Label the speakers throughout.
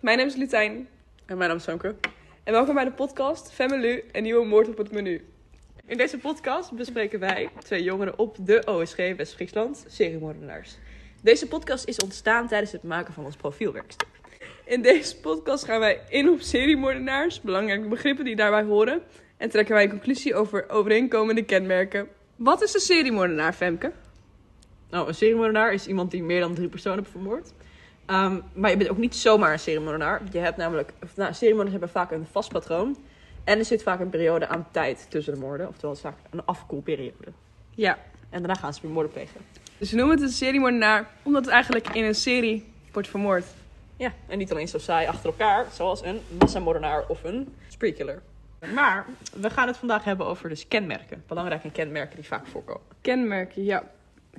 Speaker 1: Mijn naam is Lutijn.
Speaker 2: En mijn naam is Femke.
Speaker 1: En welkom bij de podcast Family, een nieuwe moord op het menu.
Speaker 2: In deze podcast bespreken wij twee jongeren op de OSG West-Friesland, seriemoordenaars. Deze podcast is ontstaan tijdens het maken van ons profielwerkstuk.
Speaker 1: In deze podcast gaan wij in op seriemoordenaars, belangrijke begrippen die daarbij horen. En trekken wij een conclusie over overeenkomende kenmerken. Wat is een seriemoordenaar, Femke?
Speaker 2: Nou, een seriemoordenaar is iemand die meer dan drie personen heeft vermoord. Ehm, maar je bent ook niet zomaar een seriemoordenaar. Je hebt namelijk, of, nou, seriemoordenaars hebben vaak een vast patroon. En er zit vaak een periode aan tijd tussen de moorden. Oftewel, het is vaak een afkoelperiode.
Speaker 1: Ja.
Speaker 2: En daarna gaan ze weer moorden plegen.
Speaker 1: Dus we noemen het een seriemoordenaar omdat het eigenlijk in een serie wordt vermoord.
Speaker 2: Ja, en niet alleen zo saai achter elkaar, zoals een massamoordenaar of een spree killer. Maar we gaan het vandaag hebben over dus kenmerken. Belangrijke kenmerken die vaak voorkomen.
Speaker 1: Kenmerken, ja.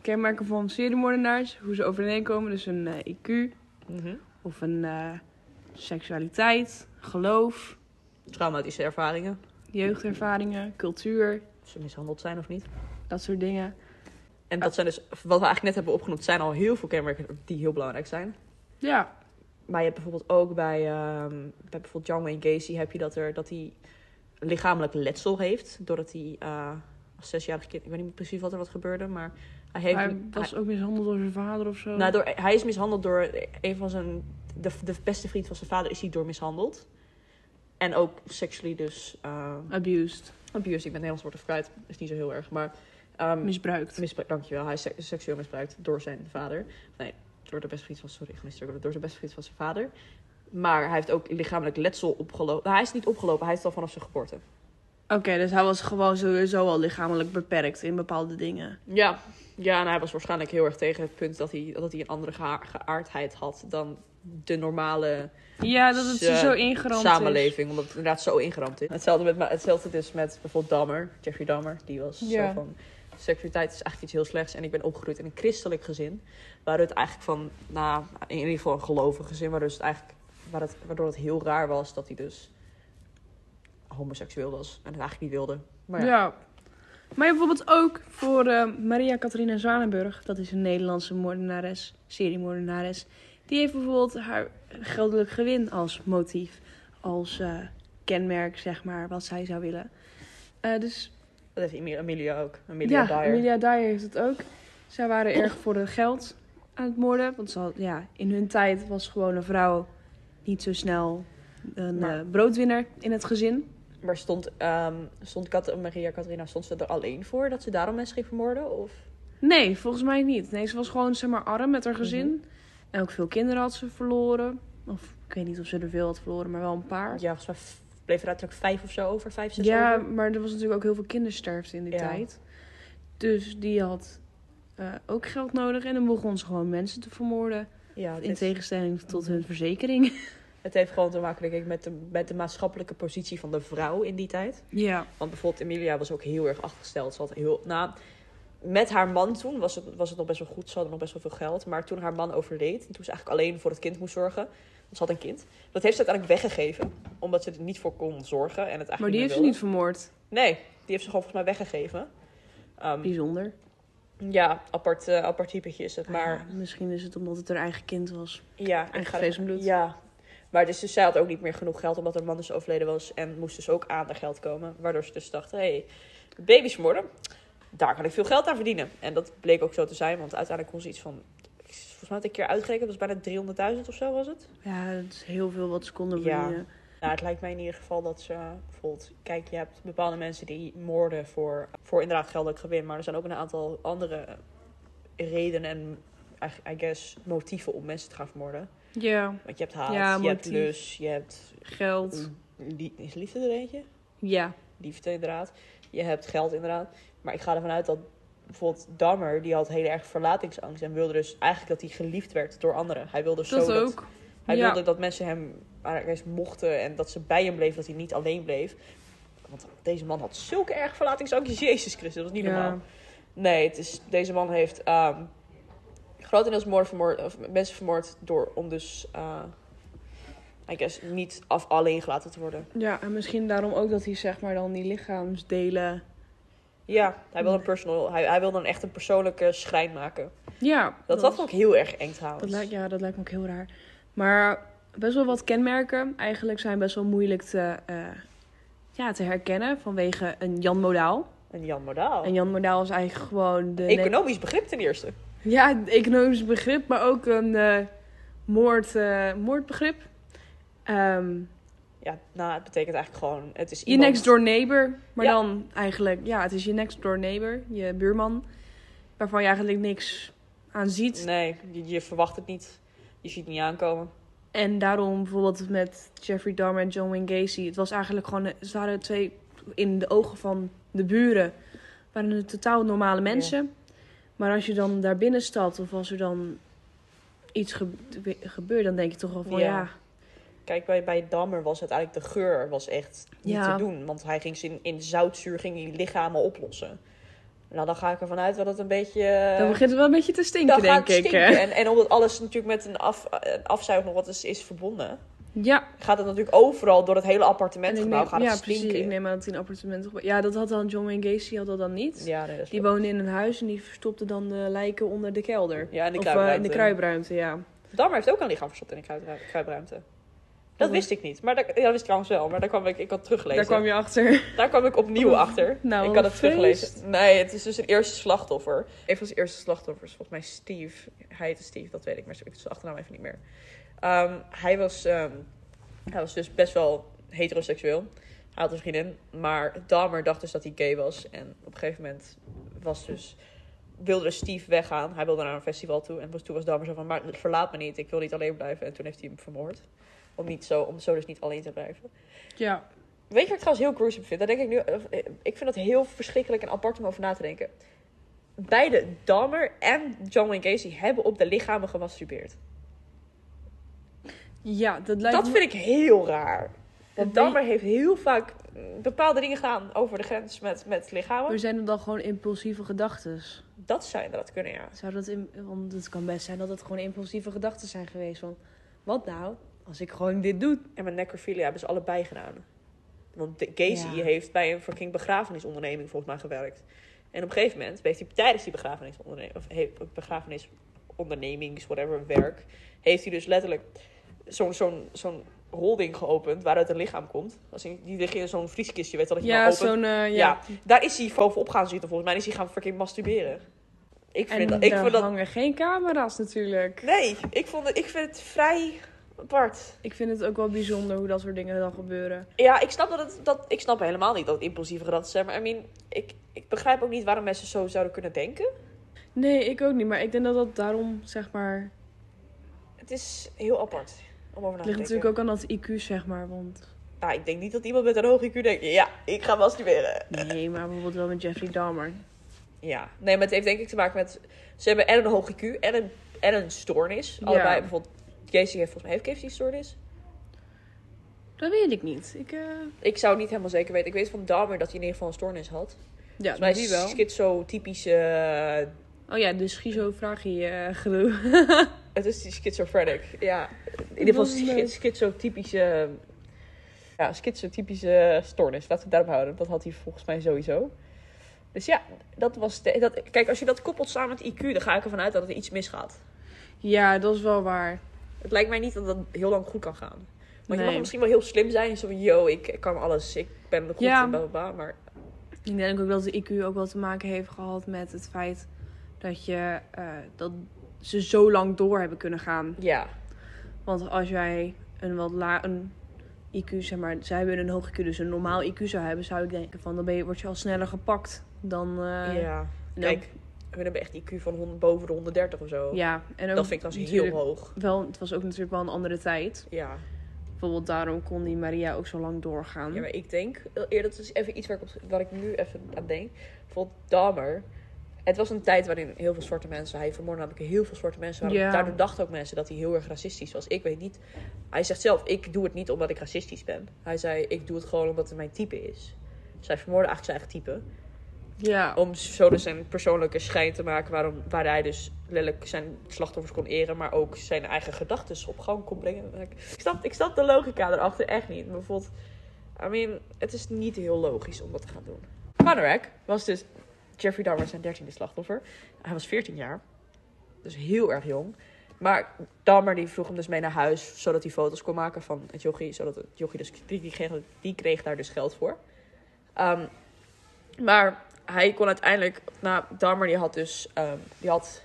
Speaker 1: Kenmerken van seriemoordenaars, hoe ze overeenkomen, dus een eh, IQ
Speaker 2: Mhm.
Speaker 1: of een eh, seksualiteit, geloof,
Speaker 2: Traumatische ervaringen,
Speaker 1: jeugdervaringen, cultuur,
Speaker 2: of ze mishandeld zijn of niet.
Speaker 1: dat soort dingen.
Speaker 2: En dat zijn dus, wat we eigenlijk net hebben opgenoemd, zijn al heel veel kenmerken die heel belangrijk zijn.
Speaker 1: Ja,
Speaker 2: Maar je hebt bijvoorbeeld ook bij, ehm, bij bijvoorbeeld John Wayne Gacy heb je dat, er, dat hij lichamelijk letsel heeft. Doordat hij eh, als zesjarig kind, ik weet niet precies wat er wat gebeurde, maar hij heeft...
Speaker 1: hij was ook mishandeld door zijn vader of zo.
Speaker 2: Nou, door, hij is mishandeld door een van zijn. De, de beste vriend van zijn vader is hij door mishandeld. En ook sexually, dus. eh
Speaker 1: Abused,
Speaker 2: abuse, ik ben Nederlands woord even kwijt, is niet zo heel erg. Maar. ehm
Speaker 1: misbruikt.
Speaker 2: misbruik, dankjewel. Hij is se- seksueel misbruikt door zijn vader. Nee, door de beste vriend van. Sorry, ik misdrukte. Door zijn beste vriend van zijn vader. Maar hij heeft ook lichamelijk letsel opgelopen. Nou, hij is niet opgelopen, hij is het al vanaf zijn geboorte.
Speaker 1: Oké, dus hij was gewoon sowieso al lichamelijk beperkt in bepaalde dingen.
Speaker 2: Ja, ja en hij was waarschijnlijk heel erg tegen het punt dat hij, dat hij een andere geha- geaardheid had dan de normale.
Speaker 1: Ja, dat het
Speaker 2: Ze-
Speaker 1: zo ingeramd is.
Speaker 2: samenleving, omdat het inderdaad zo ingeramd is. Hetzelfde, met, maar hetzelfde dus met bijvoorbeeld Dammer, Jeffrey Dahmer. Die was
Speaker 1: Ja.
Speaker 2: zo van, seksualiteit is eigenlijk iets heel slechts. En ik ben opgegroeid in een christelijk gezin, waardoor het eigenlijk van, nou, in ieder geval een gelovig gezin, waardoor het eigenlijk, waar het, waardoor het heel raar was dat hij dus homoseksueel was en het eigenlijk niet wilde. Maar
Speaker 1: ja.
Speaker 2: ja.
Speaker 1: Maar je hebt bijvoorbeeld ook voor eh, Maria Catharina Zwanenburg, dat is een Nederlandse moordenares, seriemoordenares. Die heeft bijvoorbeeld haar geldelijk gewin als motief, als eh, kenmerk, zeg maar, wat zij zou willen. Eh, dus
Speaker 2: dat heeft Amelia ook, Amelia
Speaker 1: ja,
Speaker 2: Dyer.
Speaker 1: Amelia Dyer heeft het ook. Zij waren erg voor het geld aan het moorden. Want ze had- ja, in hun tijd was gewoon een vrouw niet zo snel een
Speaker 2: Maar-
Speaker 1: eh, broodwinner in het gezin.
Speaker 2: Maar stond, ehm, stond Kat- Maria Catharina, stond ze er alleen voor dat ze daarom mensen ging vermoorden? Of?
Speaker 1: Nee, volgens mij niet. Nee, ze was gewoon zeg maar, arm met haar
Speaker 2: Mhm.
Speaker 1: gezin. En ook veel kinderen had ze verloren. Of ik weet niet of ze er veel had verloren, maar wel een paar.
Speaker 2: Ja, volgens mij f- bleef er uiterlijk vijf of zo over, vijf, zes
Speaker 1: Ja,
Speaker 2: over.
Speaker 1: maar er was natuurlijk ook heel veel kindersterfte in die
Speaker 2: Ja.
Speaker 1: tijd. Dus die had eh, ook geld nodig. En dan begon ze gewoon mensen te vermoorden.
Speaker 2: Ja,
Speaker 1: In
Speaker 2: dit-
Speaker 1: tegenstelling tot hun verzekering.
Speaker 2: het heeft gewoon te maken, denk ik, met de, met de maatschappelijke positie van de vrouw in die tijd.
Speaker 1: Ja.
Speaker 2: Want bijvoorbeeld Emilia was ook heel erg achtergesteld. Ze had heel, nou, met haar man toen was het, was het nog best wel goed, ze hadden nog best wel veel geld. Maar toen haar man overleed, en toen ze eigenlijk alleen voor het kind moest zorgen, want ze had een kind. Dat heeft ze uiteindelijk weggegeven, omdat ze er niet voor kon zorgen. En het eigenlijk
Speaker 1: Maar die heeft ze
Speaker 2: meer
Speaker 1: niet vermoord.
Speaker 2: wilde. Nee, die heeft ze gewoon volgens mij weggegeven. Ehm,
Speaker 1: Bijzonder.
Speaker 2: ja, apart, eh, apart typetje is het. Maar
Speaker 1: Ah, Ja, misschien is het omdat het haar eigen kind was.
Speaker 2: Ja,
Speaker 1: Eigen
Speaker 2: ik ga
Speaker 1: vlees
Speaker 2: er-
Speaker 1: en bloed.
Speaker 2: Ja. Maar dus, dus zij had ook niet meer genoeg geld omdat haar man dus overleden was. En moest dus ook aan haar geld komen. Waardoor ze dus dacht, hé, hey, baby's vermoorden, daar kan ik veel geld aan verdienen. En dat bleek ook zo te zijn, want uiteindelijk kon ze iets van... Volgens mij had ik een keer uitgerekend, dat was bijna 300.000 of zo was het.
Speaker 1: Ja, het is heel veel wat ze konden
Speaker 2: Ja.
Speaker 1: verdienen.
Speaker 2: Nou, het lijkt mij in ieder geval dat ze eh, bijvoorbeeld... Kijk, je hebt bepaalde mensen die moorden voor, voor inderdaad geldelijk gewin. Maar er zijn ook een aantal andere redenen en, I I guess, motieven om mensen te gaan vermoorden.
Speaker 1: Ja.
Speaker 2: Want je hebt haat,
Speaker 1: Ja,
Speaker 2: je hebt
Speaker 1: motief.
Speaker 2: lust, je hebt... Mm.
Speaker 1: Geld.
Speaker 2: Die, is liefde er eentje?
Speaker 1: Ja.
Speaker 2: Liefde inderdaad. Je hebt geld inderdaad. Maar ik ga ervan uit dat bijvoorbeeld Dammer, die had heel erg verlatingsangst. En wilde dus eigenlijk dat hij geliefd werd door anderen. Hij wilde zo
Speaker 1: Dat ook.
Speaker 2: hij
Speaker 1: ja.
Speaker 2: wilde dat mensen hem eigenlijk eens mochten en dat ze bij hem bleven, dat hij niet alleen bleef. Want deze man had zulke erg verlatingsangst. Jezus Christus, dat was niet
Speaker 1: Ja.
Speaker 2: normaal. Nee, het is, deze man heeft ehm, grotendeels moord vermoord, of mensen vermoord door om dus, eh I guess, niet af alleen gelaten te worden.
Speaker 1: Ja, en misschien daarom ook dat hij zeg maar dan die lichaamsdelen...
Speaker 2: Ja, hij wilde een personal, hij, hij wilde een echt een persoonlijke schrijn maken.
Speaker 1: Ja.
Speaker 2: Dat, dat vond ik heel erg eng trouwens.
Speaker 1: dat lijkt, Ja, dat lijkt me ook heel raar. Maar best wel wat kenmerken eigenlijk zijn best wel moeilijk te, eh, ja, te herkennen vanwege een Jan Modaal.
Speaker 2: Een Jan Modaal.
Speaker 1: En Jan Modaal is eigenlijk gewoon de.
Speaker 2: Economisch begrip ten eerste.
Speaker 1: Ja, een economisch begrip, maar ook een eh, moord, eh, moordbegrip. Ehm,
Speaker 2: Ja, nou, het betekent eigenlijk gewoon... Het is
Speaker 1: je
Speaker 2: iemand...
Speaker 1: next door neighbor, maar
Speaker 2: Ja.
Speaker 1: dan eigenlijk, ja, het is je next door neighbor, je buurman, waarvan je eigenlijk niks aan ziet.
Speaker 2: Nee, je, je verwacht het niet. Je ziet het niet aankomen.
Speaker 1: En daarom bijvoorbeeld met Jeffrey Dahmer en John Wayne Gacy, het was eigenlijk gewoon, eh, ze waren twee in de ogen van de buren, waren het totaal normale mensen. Maar als je dan daar binnen stapt of als er dan iets gebe- gebeurt, dan denk je toch wel van
Speaker 2: Ja.
Speaker 1: ja
Speaker 2: Kijk, bij, bij Dammer was uiteindelijk de geur was echt niet
Speaker 1: Ja.
Speaker 2: te doen. Want hij ging ze in, in zoutzuur ging die lichamen oplossen. Nou, dan ga ik ervan uit dat het een beetje... eh,
Speaker 1: Dan begint het wel een beetje te stinken,
Speaker 2: dan gaat
Speaker 1: denk
Speaker 2: het
Speaker 1: ik.
Speaker 2: stinken.
Speaker 1: hè?
Speaker 2: En, en omdat alles natuurlijk met een, af, een afzuig nog wat is, is verbonden...
Speaker 1: Ja,
Speaker 2: gaat het natuurlijk overal door het hele
Speaker 1: en ik
Speaker 2: appartementgebouw
Speaker 1: neem,
Speaker 2: gaat
Speaker 1: ja
Speaker 2: het
Speaker 1: precies.
Speaker 2: stinken.
Speaker 1: Ik neem aan dat hij een appartement... op- Ja, dat had dan John Wayne Gacy had dat dan niet.
Speaker 2: Ja, nee, dat is
Speaker 1: Die
Speaker 2: wel-
Speaker 1: woonde in een huis en die verstopte dan de lijken onder de kelder.
Speaker 2: ja, en de
Speaker 1: of eh,
Speaker 2: kruipruimte.
Speaker 1: in de kruipruimte, ja.
Speaker 2: Dammer heeft ook een lichaam verstopt in de kruipru- kruipruimte. Dat
Speaker 1: Oh.
Speaker 2: wist ik niet. Maar dat, ja, dat wist ik trouwens wel. Maar daar kwam ik, ik had
Speaker 1: Daar
Speaker 2: teruggelezen.
Speaker 1: kwam je achter.
Speaker 2: Daar kwam ik opnieuw achter.
Speaker 1: Nou,
Speaker 2: ik
Speaker 1: wat
Speaker 2: had het
Speaker 1: een feest.
Speaker 2: teruggelezen. Nee, het is dus een eerste slachtoffer. Een van zijn eerste slachtoffers, volgens mij Steve. Hij heette Steve, dat weet ik, maar ik weet zijn achternaam even niet meer. Ehm, hij, was, ehm, hij was dus best wel heteroseksueel. Hij had een vriendin, maar Dahmer dacht dus dat hij gay was. En op een gegeven moment was dus, wilde dus Steve weggaan. Hij wilde naar een festival toe. En toen was Dahmer zo van, maar verlaat me niet, ik wil niet alleen blijven. En toen heeft hij hem vermoord. Om, niet zo, om zo dus niet alleen te blijven.
Speaker 1: Ja.
Speaker 2: Weet je wat ik trouwens heel gruesome vind? Daar denk ik nu. eh, Ik vind dat heel verschrikkelijk en apart om over na te denken. Beide Dahmer en John Wayne Gacy hebben op de lichamen gemasturbeerd.
Speaker 1: Ja, dat lijkt
Speaker 2: Dat
Speaker 1: me-
Speaker 2: vind ik heel raar. Want
Speaker 1: weet-
Speaker 2: Dahmer heeft heel vaak mm, bepaalde dingen gedaan over de grens met, met lichamen.
Speaker 1: Maar zijn het dan gewoon impulsieve gedachten?
Speaker 2: Dat zou inderdaad kunnen, ja.
Speaker 1: Zou dat... im- Want het kan best zijn dat het gewoon impulsieve gedachten zijn geweest. Van, wat nou als ik gewoon dit doe?
Speaker 2: En met necrophilia hebben ze allebei gedaan. Want de- Gacy
Speaker 1: Ja.
Speaker 2: heeft bij een fucking begrafenisonderneming volgens mij gewerkt. En op een gegeven moment heeft hij tijdens die begrafenisonderneming, of he- begrafenisondernemings, whatever, werk, heeft hij dus letterlijk zo'n zo'n zo'n holding geopend waaruit een lichaam komt. Als in, die ligt in zo'n vrieskistje, weet je wel, dat je
Speaker 1: Ja,
Speaker 2: maar opent.
Speaker 1: zo'n... eh, ja.
Speaker 2: Ja. daar is hij bovenop gaan zitten volgens mij. En is hij gaan fucking masturberen. Ik vind
Speaker 1: En
Speaker 2: dat, ik
Speaker 1: daar
Speaker 2: vind dat,
Speaker 1: hangen geen camera's natuurlijk.
Speaker 2: nee, ik, vond het, ik vind het vrij apart.
Speaker 1: Ik vind het ook wel bijzonder hoe dat soort dingen dan gebeuren.
Speaker 2: Ja, ik snap, dat het, dat, ik snap helemaal niet dat het impulsieve gedachten zijn. Maar I mean, ik, ik begrijp ook niet waarom mensen zo zouden kunnen denken.
Speaker 1: Nee, ik ook niet. Maar ik denk dat dat daarom, zeg maar...
Speaker 2: Het is heel apart om
Speaker 1: Het
Speaker 2: over na te
Speaker 1: ligt
Speaker 2: denken.
Speaker 1: natuurlijk ook aan dat IQ, zeg maar. Want
Speaker 2: Nou, ik denk niet dat iemand met een hoog IQ denkt... Ja, ik ga masturberen.
Speaker 1: nee, maar bijvoorbeeld wel met Jeffrey Dahmer.
Speaker 2: Ja, nee, maar het heeft denk ik te maken met... Ze hebben en een hoog IQ en een, en een stoornis. Allebei,
Speaker 1: Ja.
Speaker 2: bijvoorbeeld... Casey heeft volgens mij... Heeft Casey een stoornis?
Speaker 1: Dat weet ik niet. Ik, eh
Speaker 2: Ik zou het niet helemaal zeker weten. Ik weet van Dahmer dat hij in ieder geval een stoornis had.
Speaker 1: ja,
Speaker 2: Volgens mij
Speaker 1: dat
Speaker 2: is
Speaker 1: die wel.
Speaker 2: schizo-typische... eh,
Speaker 1: Oh ja, de schizofragie eh gedoe.
Speaker 2: Het is die schizofrenic, ja. In ieder geval
Speaker 1: Dat is leuk.
Speaker 2: schi- schizotypische... Ja, schizotypische stoornis. Laten we het daarop houden. Dat had hij volgens mij sowieso. Dus ja, dat was... de- dat, kijk, als je dat koppelt samen met IQ... dan ga ik ervan uit dat er iets misgaat.
Speaker 1: Ja, dat is wel waar.
Speaker 2: Het lijkt mij niet dat dat heel lang goed kan gaan. Want je mag
Speaker 1: Nee.
Speaker 2: misschien wel heel slim zijn. Zo van, yo, ik kan alles. Ik ben goed
Speaker 1: Ja.
Speaker 2: en bla, bla, bla. Maar
Speaker 1: Ik denk ook dat de IQ ook wel te maken heeft gehad met het feit dat, je, eh, dat ze zo lang door hebben kunnen gaan.
Speaker 2: ja,
Speaker 1: Want als jij een wat la een IQ, zeg maar, zij hebben een hoog IQ, dus een normaal IQ zou hebben, zou ik denken van dan ben je, word je al sneller gepakt dan. eh,
Speaker 2: ja.
Speaker 1: en
Speaker 2: Kijk, hun hebben echt IQ van 100, boven de 130 of zo.
Speaker 1: ook- ja, en ook
Speaker 2: dat vind ik dan heel
Speaker 1: natuurlijk
Speaker 2: hoog.
Speaker 1: Wel, het was ook natuurlijk wel een andere tijd.
Speaker 2: Ja.
Speaker 1: Bijvoorbeeld daarom kon die Maria ook zo lang doorgaan.
Speaker 2: Ja, maar ik denk, eerder, dat is even iets waar ik, op, waar ik nu even aan denk. Bijvoorbeeld Dahmer. Het was een tijd waarin heel veel zwarte mensen, hij vermoordde namelijk heel veel zwarte mensen. Waarom,
Speaker 1: Ja.
Speaker 2: Daardoor dachten ook mensen dat hij heel erg racistisch was. Ik weet niet. Hij zegt zelf, ik doe het niet omdat ik racistisch ben. Hij zei, ik doe het gewoon omdat het mijn type is. Dus hij vermoordde eigenlijk zijn eigen type.
Speaker 1: Ja.
Speaker 2: Om zo dus zijn persoonlijke schijn te maken waarom, waar hij dus letterlijk zijn slachtoffers kon eren. Maar ook zijn eigen gedachten op gang kon brengen. Ik snap, ik snap de logica erachter echt niet. Maar Bijvoorbeeld, I mean, het is niet heel logisch om dat te gaan doen. Panorek was dus Jeffrey Dahmer zijn dertiende slachtoffer. Hij was 14 jaar. Dus heel erg jong. Maar Dahmer die vroeg hem dus mee naar huis, zodat hij foto's kon maken van het jochie. Zodat het jochie dus, die, die kreeg, die kreeg daar dus geld voor. Ehm, maar hij kon uiteindelijk, nou, Dahmer die had dus, ehm, die had,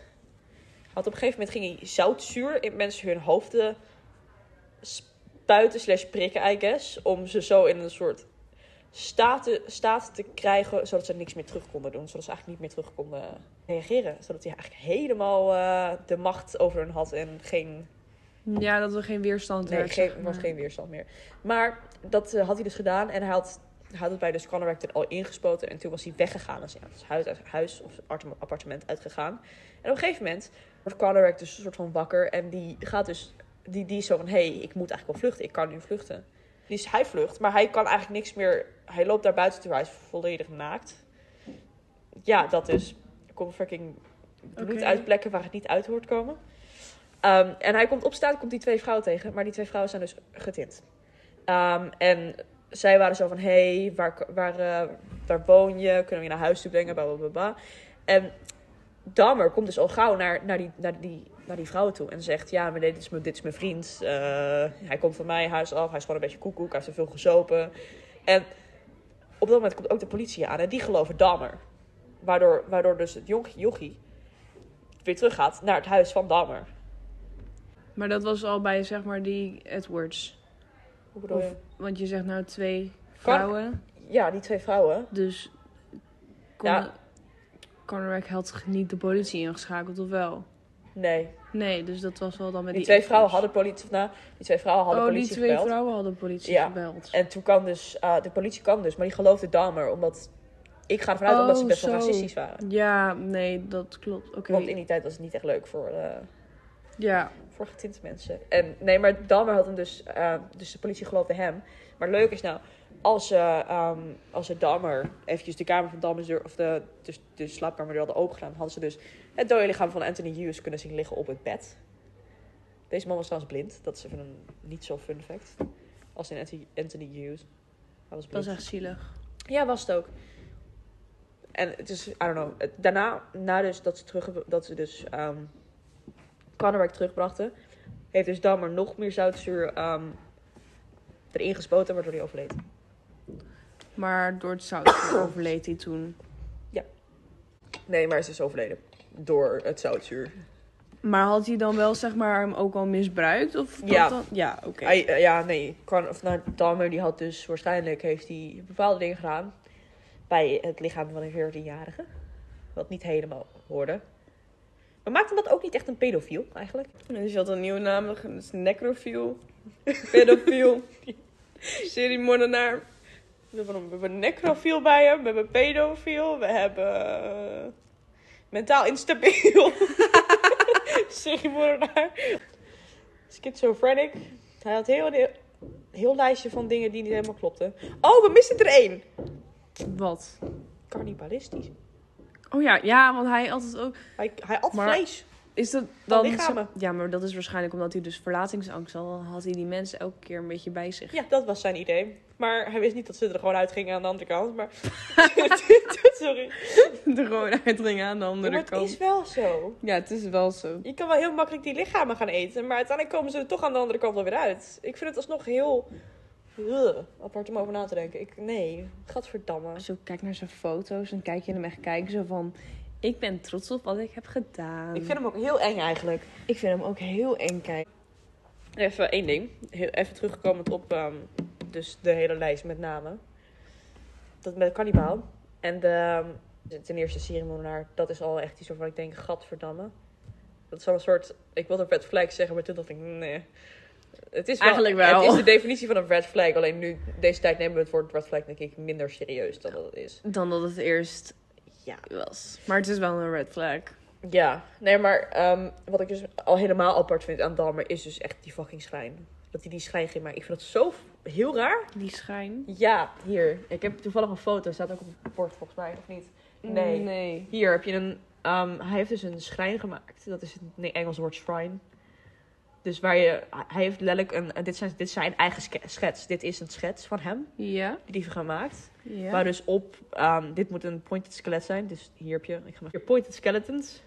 Speaker 2: had op een gegeven moment ging hij zoutzuur in mensen hun hoofden spuiten slash prikken, I guess. Om ze zo in een soort staat te, staat te krijgen, zodat ze niks meer terug konden doen. Zodat ze eigenlijk niet meer terug konden reageren. Zodat hij eigenlijk helemaal eh, de macht over hun had en geen,
Speaker 1: Ja, dat er geen weerstand
Speaker 2: nee,
Speaker 1: werd,
Speaker 2: geen,
Speaker 1: zeg
Speaker 2: was
Speaker 1: maar.
Speaker 2: geen weerstand meer. Maar dat eh, had hij dus gedaan en hij had, hij had het bij de scanner al ingespoten. En toen was hij weggegaan, dus ja, dus huis, uit- huis of apart- appartement uitgegaan. En op een gegeven moment wordt Conrad dus een soort van wakker en die gaat dus, die, die is zo van, hé, hey, ik moet eigenlijk wel vluchten, ik kan nu vluchten. Dus hij vlucht, maar hij kan eigenlijk niks meer, hij loopt daar buiten terwijl hij is volledig naakt. Ja, dat dus. Er komt fucking bloed
Speaker 1: Oké.
Speaker 2: uit plekken waar het niet uit hoort komen. Ehm, en hij komt opstaan, komt die twee vrouwen tegen, maar die twee vrouwen zijn dus getint. Ehm, en zij waren zo van, hé, hey, waar, waar, eh, waar woon je? Kunnen we je naar huis toe brengen? Bla, bla, bla, bla. En Dahmer komt dus al gauw naar, naar, die, naar, die, naar die vrouwen toe en zegt: Ja, maar nee, dit, is mijn, dit is mijn vriend. Eh, hij komt van mij huis af. Hij is gewoon een beetje koekoek. Hij heeft te veel gezopen. En op dat moment komt ook de politie aan en die geloven Dahmer. Waardoor, waardoor dus het jonkie, jochie weer teruggaat naar het huis van Dahmer.
Speaker 1: Maar dat was al bij, zeg maar, die Edwards.
Speaker 2: Hoe bedoel
Speaker 1: Of,
Speaker 2: je?
Speaker 1: want je zegt nou twee vrouwen,
Speaker 2: Ja, die twee vrouwen.
Speaker 1: dus... Kon,
Speaker 2: Ja.
Speaker 1: Conrad had niet de politie ingeschakeld, of wel?
Speaker 2: Nee,
Speaker 1: Nee, dus dat was wel dan met
Speaker 2: die,
Speaker 1: die...
Speaker 2: twee
Speaker 1: Edwards.
Speaker 2: vrouwen hadden politie. Of nou, die twee vrouwen hadden
Speaker 1: oh,
Speaker 2: politie
Speaker 1: die twee
Speaker 2: gebeld.
Speaker 1: vrouwen hadden politie
Speaker 2: Ja.
Speaker 1: gebeld.
Speaker 2: En toen kan dus, eh, de politie kan dus, maar die geloofde Dahmer. Omdat, ik ga ervan uit omdat ze
Speaker 1: Oh,
Speaker 2: best wel
Speaker 1: zo.
Speaker 2: racistisch waren.
Speaker 1: Ja, nee, dat klopt. Oké.
Speaker 2: Want in die tijd was het niet echt leuk voor, eh,
Speaker 1: Ja,
Speaker 2: voor getinte mensen. En nee, maar Dahmer had hem dus, eh, dus de politie geloofde hem. Maar het leuke is nou, als ze, ehm als ze Dahmer, eventjes de kamer van Dahmer, deur- of de, dus de slaapkamer die hadden opengedaan, hadden ze dus het dode lichaam van Anthony Hughes kunnen zien liggen op het bed. Deze man was trouwens blind. Dat is even een niet zo fun fact. Als in Anthony, Anthony Hughes. Hij was
Speaker 1: dat
Speaker 2: blind.
Speaker 1: is echt zielig.
Speaker 2: Ja, was het ook. En het is, I don't know. het- Daarna, na dus dat ze, terug, dat ze dus ehm Conrad terugbrachten, heeft dus Dahmer nog meer zoutzuur ehm erin gespoten, waardoor hij overleed.
Speaker 1: Maar door het zout overleed hij toen.
Speaker 2: Nee, maar hij is dus overleden. Door het zoutzuur.
Speaker 1: Maar had hij dan wel, zeg maar, hem ook al misbruikt? Of dat
Speaker 2: Ja.
Speaker 1: dan? Ja, oké.
Speaker 2: Hij, eh, ja, nee. Con, of, nou, Dahmer die had dus waarschijnlijk heeft hij bepaalde dingen gedaan bij het lichaam van een 14-jarige. Wat niet helemaal hoorde. Maar maakte dat ook niet echt een pedofiel, eigenlijk?
Speaker 1: Dus je had een nieuwe naam, dat is necrofiel, pedofiel, seriemoordenaar.
Speaker 2: We hebben, we hebben een necrofiel bij hem, we hebben een pedofiel, we hebben eh, mentaal instabiel. Seriemoordenaar. Schizofrenic. Hij had heel, de- heel lijstje van dingen die niet helemaal klopten. Oh, we missen er één.
Speaker 1: Wat?
Speaker 2: Cannibalistisch.
Speaker 1: Oh ja, ja, want hij altijd ook...
Speaker 2: Hij, hij at
Speaker 1: Maar-
Speaker 2: vlees.
Speaker 1: Is dat dan...
Speaker 2: lichamen.
Speaker 1: Ja, maar dat is waarschijnlijk omdat hij dus verlatingsangst had. Dan had hij die mensen elke keer een beetje bij zich.
Speaker 2: Ja, dat was zijn idee. Maar hij wist niet dat ze er gewoon uitgingen aan de andere kant. Maar... Sorry.
Speaker 1: De rode uitring aan de
Speaker 2: Maar
Speaker 1: andere
Speaker 2: het is wel zo.
Speaker 1: Ja, het is wel zo.
Speaker 2: Je kan wel heel makkelijk die lichamen gaan eten, maar uiteindelijk komen ze er toch aan de andere kant wel weer uit. Ik vind het alsnog heel Ugh, apart om over na te denken. Ik, nee, gadverdamme.
Speaker 1: Als je ook kijkt naar zijn foto's, dan kijk je hem echt kijken zo van... Ik ben trots op wat ik heb gedaan.
Speaker 2: Ik vind hem ook heel eng eigenlijk.
Speaker 1: Ik vind hem ook heel eng kijken.
Speaker 2: Even één ding. Heel, even terugkomend op ehm, dus de hele lijst met namen. Dat met Cannibaal. En de, ehm, ten eerste Sirimonaar, dat is al echt iets waarvan ik denk, gadverdamme. Dat is wel een soort, ik wilde red flag zeggen, maar toen dacht ik, nee. Het is wel,
Speaker 1: Eigenlijk wel.
Speaker 2: Het is de definitie van een red flag. Alleen nu, deze tijd nemen we het woord red flag denk ik minder serieus dan dat het is.
Speaker 1: Dan dat het eerst
Speaker 2: Ja.
Speaker 1: was. Maar het is wel een red flag.
Speaker 2: Ja, nee, maar ehm, wat ik dus al helemaal apart vind aan Dahmer is dus echt die fucking schrijn. Dat hij die schrijn ging maken. Ik vind dat zo f- heel raar.
Speaker 1: Die schijn?
Speaker 2: Ja, hier. Ik heb toevallig een foto. Staat ook op het bord volgens mij, of niet? Nee.
Speaker 1: Nee.
Speaker 2: Hier heb je een... ehm, hij heeft dus een schrijn gemaakt. Dat is het nee, Engels woord shrine. Dus waar je... Hij heeft letterlijk een... en Dit zijn, dit zijn eigen ske- schets. Dit is een schets van hem.
Speaker 1: Ja?
Speaker 2: Die hij gemaakt.
Speaker 1: Ja.
Speaker 2: Waar dus op... ehm, dit moet een pointed skelet zijn. Dus hier heb je... Ik ga maar, hier, pointed skeletons.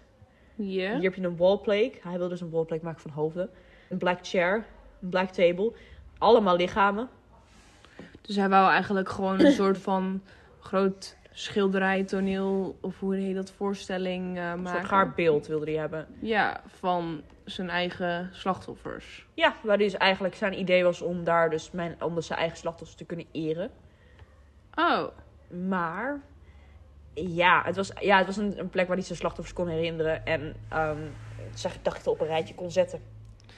Speaker 1: Ja.
Speaker 2: Hier heb je een wallplate. Hij wil dus een wallplate maken van hoofden. Een black chair, een black table. Allemaal lichamen.
Speaker 1: Dus hij wou eigenlijk gewoon een soort van groot schilderij, toneel of hoe heet dat, voorstelling eh
Speaker 2: Een
Speaker 1: maken.
Speaker 2: soort gaar beeld wilde hij hebben.
Speaker 1: Ja, van zijn eigen slachtoffers.
Speaker 2: Ja, waar dus eigenlijk zijn idee was om daar dus mijn, om dus zijn eigen slachtoffers te kunnen eren.
Speaker 1: Oh,
Speaker 2: Maar ja, het was, ja, het was een, een plek waar hij zijn slachtoffers kon herinneren. En ehm zijn gedachten op een rijtje kon zetten.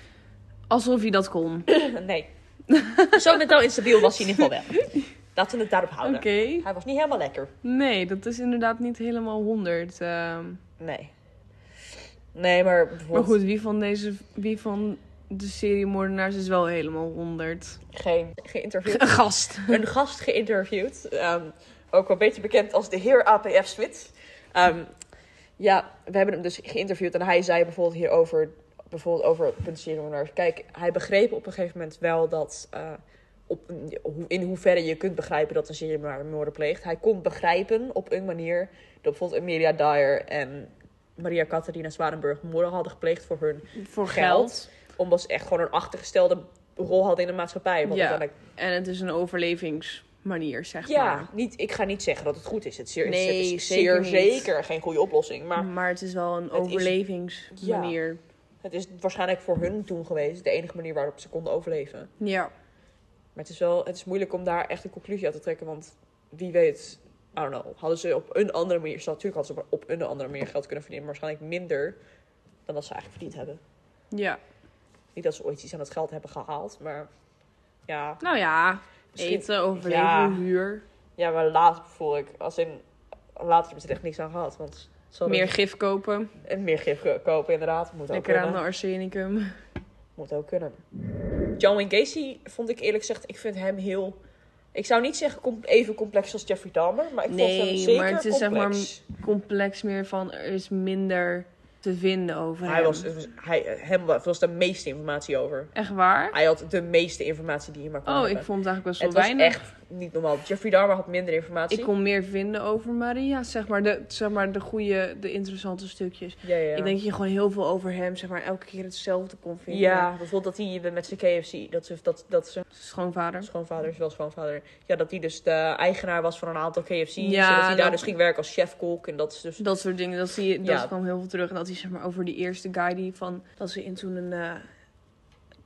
Speaker 1: alsof hij dat kon.
Speaker 2: nee. Zo mentaal instabiel was hij in ieder geval wel. Laten we het daarop
Speaker 1: Oké.
Speaker 2: houden. Hij was niet helemaal lekker.
Speaker 1: Nee, dat is inderdaad niet helemaal 100. ehm.
Speaker 2: Nee. Nee, maar
Speaker 1: maar
Speaker 2: bijvoorbeeld
Speaker 1: goed, wie van, deze, wie van de serie moordenaars is wel helemaal 100?
Speaker 2: geen geïnterviewd.
Speaker 1: Een gast.
Speaker 2: een gast geïnterviewd. ehm, ook wel beter bekend als de heer APF Smit. Ehm, ja, we hebben hem dus geïnterviewd. En hij zei bijvoorbeeld hierover... Bijvoorbeeld over puntsierenmoordenaars. Kijk, hij begreep op een gegeven moment wel dat... eh, op, hoe- in hoeverre je kunt begrijpen dat een seriemoordenaar pleegt. Hij kon begrijpen op een manier... dat bijvoorbeeld Emilia Dyer en Maria Catharina Zwanenburg... moorden hadden gepleegd voor hun...
Speaker 1: Voor
Speaker 2: Geld.
Speaker 1: geld.
Speaker 2: omdat ze echt gewoon een achtergestelde rol hadden in de maatschappij. Want
Speaker 1: Ja.
Speaker 2: uiteindelijk
Speaker 1: En het is een overlevingsmanier, zeg
Speaker 2: Ja,
Speaker 1: maar.
Speaker 2: niet, ik ga niet zeggen dat het goed is. Het is zeer,
Speaker 1: Nee,
Speaker 2: het is
Speaker 1: zeker
Speaker 2: zeer
Speaker 1: niet. Mm.
Speaker 2: zeker geen goede oplossing. Maar
Speaker 1: Maar het is wel een
Speaker 2: Het is-
Speaker 1: overlevingsmanier.
Speaker 2: het is waarschijnlijk voor hun toen geweest de enige manier waarop ze konden overleven.
Speaker 1: Ja.
Speaker 2: Maar het is wel het is moeilijk om daar echt een conclusie uit te trekken. Want wie weet, I don't know, hadden ze op een andere manier... ze- Natuurlijk hadden ze op een andere manier geld kunnen verdienen. Maar waarschijnlijk minder dan dat ze eigenlijk verdiend hebben.
Speaker 1: ja.
Speaker 2: Niet dat ze ooit iets aan het geld hebben gehaald, maar... Ja,
Speaker 1: Nou ja,
Speaker 2: misschien-
Speaker 1: eten, overleven,
Speaker 2: Ja.
Speaker 1: huur.
Speaker 2: ja maar later voel ik... Als in, later hebben ze er echt niks aan gehad. Want ze hadden-
Speaker 1: Meer gif kopen.
Speaker 2: en meer gif kopen, inderdaad. Moet ook
Speaker 1: Lekker aan
Speaker 2: kunnen.
Speaker 1: de arsenicum.
Speaker 2: Moet ook kunnen. John Wayne Gacy vond ik eerlijk gezegd, ik vind hem heel... Ik zou niet zeggen com- even complex als Jeffrey Dahmer, maar ik vond hem
Speaker 1: Nee,
Speaker 2: zeker
Speaker 1: maar het is zeg maar
Speaker 2: complex.
Speaker 1: Complex meer van, er is minder te vinden over
Speaker 2: hij
Speaker 1: hem.
Speaker 2: was, het was, hij, hem was, was de meeste informatie over.
Speaker 1: Echt waar?
Speaker 2: Hij had de meeste informatie die je maar kon
Speaker 1: Oh,
Speaker 2: hebben.
Speaker 1: ik vond het eigenlijk best wel
Speaker 2: het was
Speaker 1: weinig.
Speaker 2: echt niet normaal. Jeffrey Dahmer had minder informatie.
Speaker 1: Ik kon meer vinden over Maria, zeg maar de, zeg maar de goede, de interessante stukjes.
Speaker 2: ja, ja.
Speaker 1: Ik denk dat je gewoon heel veel over hem, zeg maar, elke keer hetzelfde kon vinden.
Speaker 2: ja, nou, bijvoorbeeld dat hij met zijn KFC, dat, ze, dat, dat ze
Speaker 1: Schoonvader.
Speaker 2: schoonvader is wel schoonvader. Ja, dat hij dus de eigenaar was van een aantal KFC's.
Speaker 1: Ja,
Speaker 2: en dat hij daar
Speaker 1: dat-
Speaker 2: dus ging werken als chef-kok. En dat is dus
Speaker 1: Dat soort dingen, dat, zie je,
Speaker 2: Ja.
Speaker 1: dat kwam heel veel terug. En dat hij zeg maar over die eerste guy die van, dat ze in toen een, eh,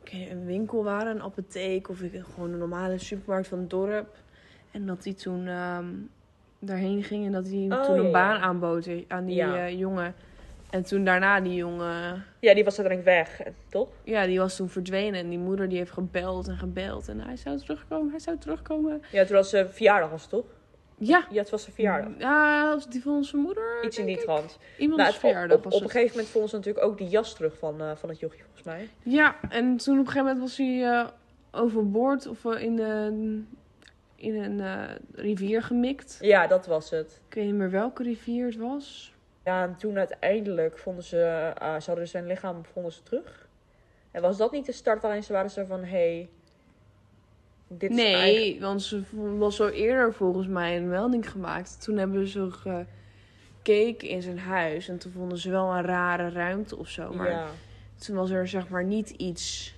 Speaker 1: ik weet niet, een winkel waren, een apotheek of ik- gewoon een normale supermarkt van het dorp. En dat hij toen ehm, daarheen ging en dat hij
Speaker 2: Oh,
Speaker 1: toen
Speaker 2: ja,
Speaker 1: een
Speaker 2: ja.
Speaker 1: baan aanbood aan die
Speaker 2: Ja.
Speaker 1: eh, jongen. En toen daarna die jongen...
Speaker 2: Ja, die was uiteindelijk weg, eh, toch?
Speaker 1: Ja, die was toen verdwenen. En die moeder die heeft gebeld en gebeld. En hij zou terugkomen, hij zou terugkomen.
Speaker 2: Ja, toen was ze verjaardag, was het toch?
Speaker 1: Ja.
Speaker 2: Ja, het was zijn verjaardag.
Speaker 1: Ja, als die van onze moeder.
Speaker 2: Iets in
Speaker 1: denk
Speaker 2: die
Speaker 1: ik.
Speaker 2: trant.
Speaker 1: Iemands
Speaker 2: Nou, het- op-
Speaker 1: verjaardag
Speaker 2: op,
Speaker 1: was
Speaker 2: op een
Speaker 1: het.
Speaker 2: gegeven moment vonden ze natuurlijk ook die jas terug van, eh, van het jochie, volgens mij.
Speaker 1: Ja, en toen op een gegeven moment was hij eh, overboord of eh, in, de, in een eh, rivier gemikt.
Speaker 2: Ja, dat was het.
Speaker 1: Ik weet niet meer welke rivier het was.
Speaker 2: Ja, en toen uiteindelijk vonden ze, eh, ze hadden zijn lichaam vonden ze terug. En was dat niet de start waarin ze waren ze van, hé, hey, dit is
Speaker 1: nee,
Speaker 2: eigenlijk...
Speaker 1: want ze vo- was al eerder volgens mij een melding gemaakt. Toen hebben ze eh, gekeken in zijn huis. En toen vonden ze wel een rare ruimte of zo. Maar
Speaker 2: Ja,
Speaker 1: Toen was er zeg maar niet iets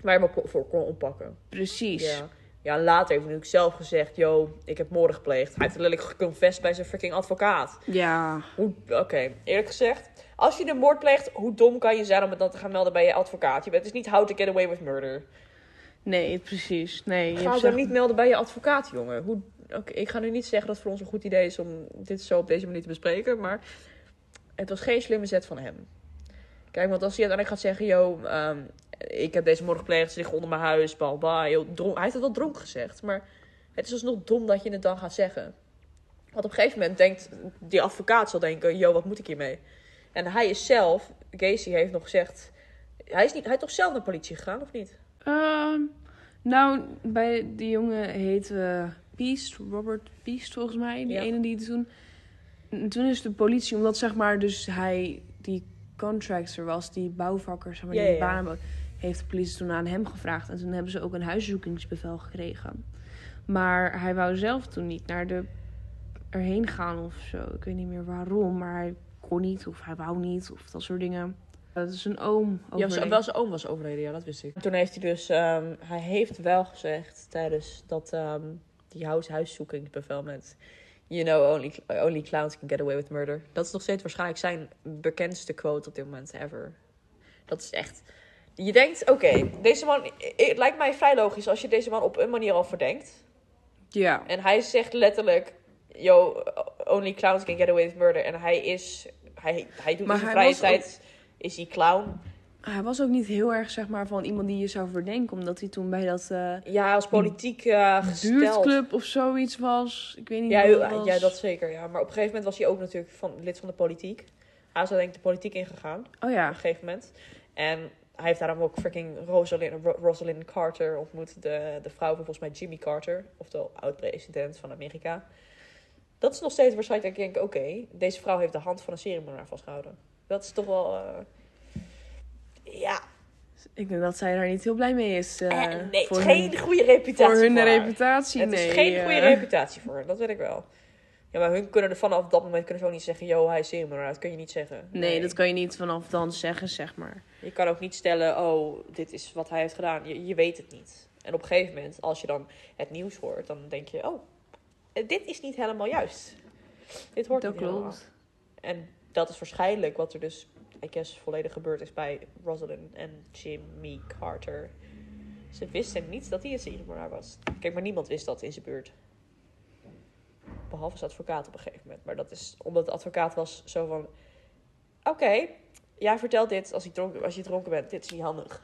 Speaker 2: waar je me po- voor kon oppakken.
Speaker 1: precies.
Speaker 2: Ja. ja, en later heeft hij natuurlijk zelf gezegd, yo, ik heb moorden gepleegd. Hij heeft letterlijk geconfessed bij zijn fucking advocaat.
Speaker 1: Ja.
Speaker 2: Hoe- Oké, eerlijk gezegd. Als je een moord pleegt, hoe dom kan je zijn om het dan te gaan melden bij je advocaat? Je bent dus niet how to get away with murder.
Speaker 1: Nee, precies. Nee, je
Speaker 2: Ga
Speaker 1: hebt
Speaker 2: het
Speaker 1: zeg-
Speaker 2: dan niet melden bij je advocaat, jongen. Hoe... oké, ik ga nu niet zeggen dat het voor ons een goed idee is om dit zo op deze manier te bespreken. Maar het was geen slimme zet van hem. Kijk, want als hij uiteindelijk gaat zeggen, yo, ehm, ik heb deze moord gepleegd, ze liggen onder mijn huis, bla bla, bla. Yo, dronk- Hij heeft het wel dronk gezegd, maar het is alsnog dom dat je het dan gaat zeggen. Want op een gegeven moment denkt die advocaat zal denken, yo, wat moet ik hiermee? En hij is zelf, Gacy heeft nog gezegd, hij is, niet, hij is toch zelf naar de politie gegaan, of niet?
Speaker 1: Ehm, nou, bij die jongen heette Beast, Robert Beast volgens mij. Die
Speaker 2: Ja.
Speaker 1: ene die het toen... En Toen is de politie, omdat zeg maar dus hij die contractor was, die bouwvakker, zeg maar,
Speaker 2: Ja,
Speaker 1: die
Speaker 2: ja, ja.
Speaker 1: baan heeft de politie toen aan hem gevraagd. En toen hebben ze ook een huiszoekingsbevel gekregen. Maar hij wou zelf toen niet naar de erheen gaan of zo. Ik weet niet meer waarom, maar hij kon kon niet of hij wou niet of dat soort dingen. Dat is een oom.
Speaker 2: Ja,
Speaker 1: overleden.
Speaker 2: zijn- wel zijn oom was overleden, ja, dat wist ik. Toen heeft hij dus, ehm, hij heeft wel gezegd tijdens dat, ehm, die huis, huiszoekingsbevel met... You know, only, only clowns can get away with murder. Dat is nog steeds waarschijnlijk zijn bekendste quote op dit moment ever. Dat is echt... Je denkt, oké, deze man... Het lijkt mij vrij logisch als je deze man op een manier al verdenkt.
Speaker 1: Ja.
Speaker 2: En hij zegt letterlijk: Yo, only clowns can get away with murder. En hij is, hij, hij doet
Speaker 1: Maar
Speaker 2: in zijn
Speaker 1: hij
Speaker 2: vrije
Speaker 1: was
Speaker 2: tijd, is hij clown.
Speaker 1: Hij was ook niet heel erg, zeg maar, van iemand die je zou verdenken. Omdat hij toen bij dat eh
Speaker 2: Ja, als politiek eh gesteld.
Speaker 1: buurtclub of zoiets was. Ik weet niet
Speaker 2: Ja,
Speaker 1: wat het
Speaker 2: ja,
Speaker 1: was.
Speaker 2: ja, dat zeker. Ja. Maar op een gegeven moment was hij ook natuurlijk van, lid van de politiek. Hij is denk ik de politiek ingegaan,
Speaker 1: Oh
Speaker 2: op
Speaker 1: ja.
Speaker 2: een gegeven moment. En hij heeft daarom ook freaking Rosalind, Ro- Rosalind Carter ontmoet. De, de vrouw van volgens mij Jimmy Carter, oftewel oud-president van Amerika. Dat is nog steeds waarschijnlijk, denk ik, oké, deze vrouw heeft de hand van een seriemoordenaar vastgehouden. Dat is toch wel... eh, Ja,
Speaker 1: Ik denk dat zij daar niet heel blij mee is. eh,
Speaker 2: eh, nee, het
Speaker 1: voor
Speaker 2: is
Speaker 1: hun-
Speaker 2: geen goede reputatie
Speaker 1: voor hun
Speaker 2: haar.
Speaker 1: reputatie.
Speaker 2: Het
Speaker 1: nee,
Speaker 2: is geen goede
Speaker 1: eh.
Speaker 2: reputatie voor haar, dat weet ik wel. Ja, maar hun kunnen er vanaf dat moment kunnen ze ook niet zeggen, yo, hij is seriemoordenaar. Dat kun je niet zeggen.
Speaker 1: Nee, dat kan je niet vanaf dan zeggen, zeg maar.
Speaker 2: Je kan ook niet stellen, oh, dit is wat hij heeft gedaan. Je, je weet het niet. En op een gegeven moment, als je dan het nieuws hoort, dan denk je, oh, eh, dit is niet helemaal juist. Dit hoort
Speaker 1: dat
Speaker 2: niet helemaal.
Speaker 1: klopt.
Speaker 2: En dat is waarschijnlijk wat er dus, I guess, volledig gebeurd is bij Rosalind en Jimmy Carter. Ze wisten niet dat hij een seriemoordenaar was. Kijk, maar niemand wist dat in zijn buurt. Behalve zijn advocaat op een gegeven moment. Maar dat is omdat de advocaat was zo van... Oké, jij vertelt dit als je, dronken, als je dronken bent. Dit is niet handig.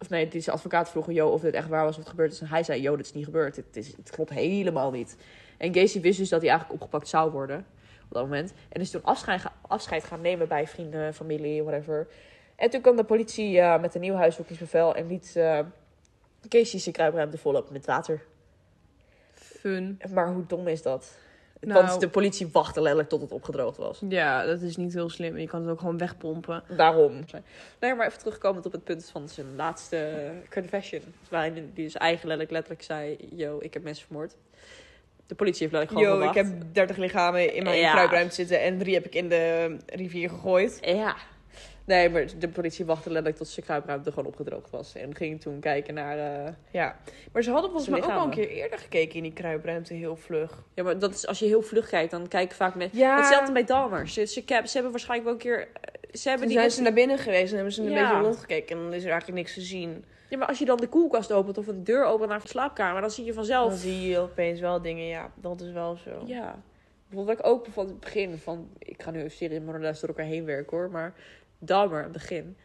Speaker 2: Of nee, deze advocaat vroeg joh of dit echt waar was of het gebeurd is. En hij zei, joh, dit is niet gebeurd. Het, is, het klopt helemaal niet. En Gacy wist dus dat hij eigenlijk opgepakt zou worden op dat moment. En is toen afscheid, ga- afscheid gaan nemen bij vrienden, familie, whatever. En toen kwam de politie eh, met een nieuw huiszoekingsbevel en liet eh Casey zijn kruipruimte volop met water.
Speaker 1: Fun.
Speaker 2: Maar hoe dom is dat?
Speaker 1: Nou.
Speaker 2: Want de politie wachtte letterlijk tot het opgedroogd was.
Speaker 1: Ja, dat is niet heel slim. Je kan het ook gewoon wegpompen.
Speaker 2: Daarom. Nee, maar even terugkomend op het punt van zijn laatste confession. Waarin die dus eigenlijk letterlijk zei, yo, ik heb mensen vermoord. De politie heeft letterlijk gewoon
Speaker 3: Yo, ik
Speaker 2: verwacht.
Speaker 3: heb 30 lichamen in mijn
Speaker 2: Ja.
Speaker 3: kruipruimte zitten en drie heb ik in de rivier gegooid.
Speaker 2: Ja. Nee, maar de politie wachtte letterlijk tot zijn kruipruimte gewoon opgedroogd was. En ging toen kijken naar... eh,
Speaker 3: Ja. Maar ze hadden volgens
Speaker 2: Zijn
Speaker 3: mij ook al een
Speaker 2: lichamen.
Speaker 3: keer eerder gekeken in die kruipruimte, heel vlug.
Speaker 2: Ja, maar dat is, als je heel vlug kijkt, dan kijken vaak mensen...
Speaker 3: Ja.
Speaker 2: Hetzelfde bij Dahmer. Ze, ze, ze hebben waarschijnlijk wel een keer... eh, Ze hebben
Speaker 3: Toen
Speaker 2: die
Speaker 3: zijn ze naar binnen geweest en hebben ze een
Speaker 2: Ja.
Speaker 3: beetje rondgekeken en dan is er eigenlijk niks te zien.
Speaker 2: Ja, maar als je dan de koelkast opent of een deur opent naar de slaapkamer, dan zie je vanzelf...
Speaker 3: Dan zie je opeens wel dingen, ja, dat is wel zo.
Speaker 2: Ja. Bijvoorbeeld wat ik ook van het begin van... Ik ga nu een serie Morales door elkaar heen werken hoor, maar... Dahmer, het begin.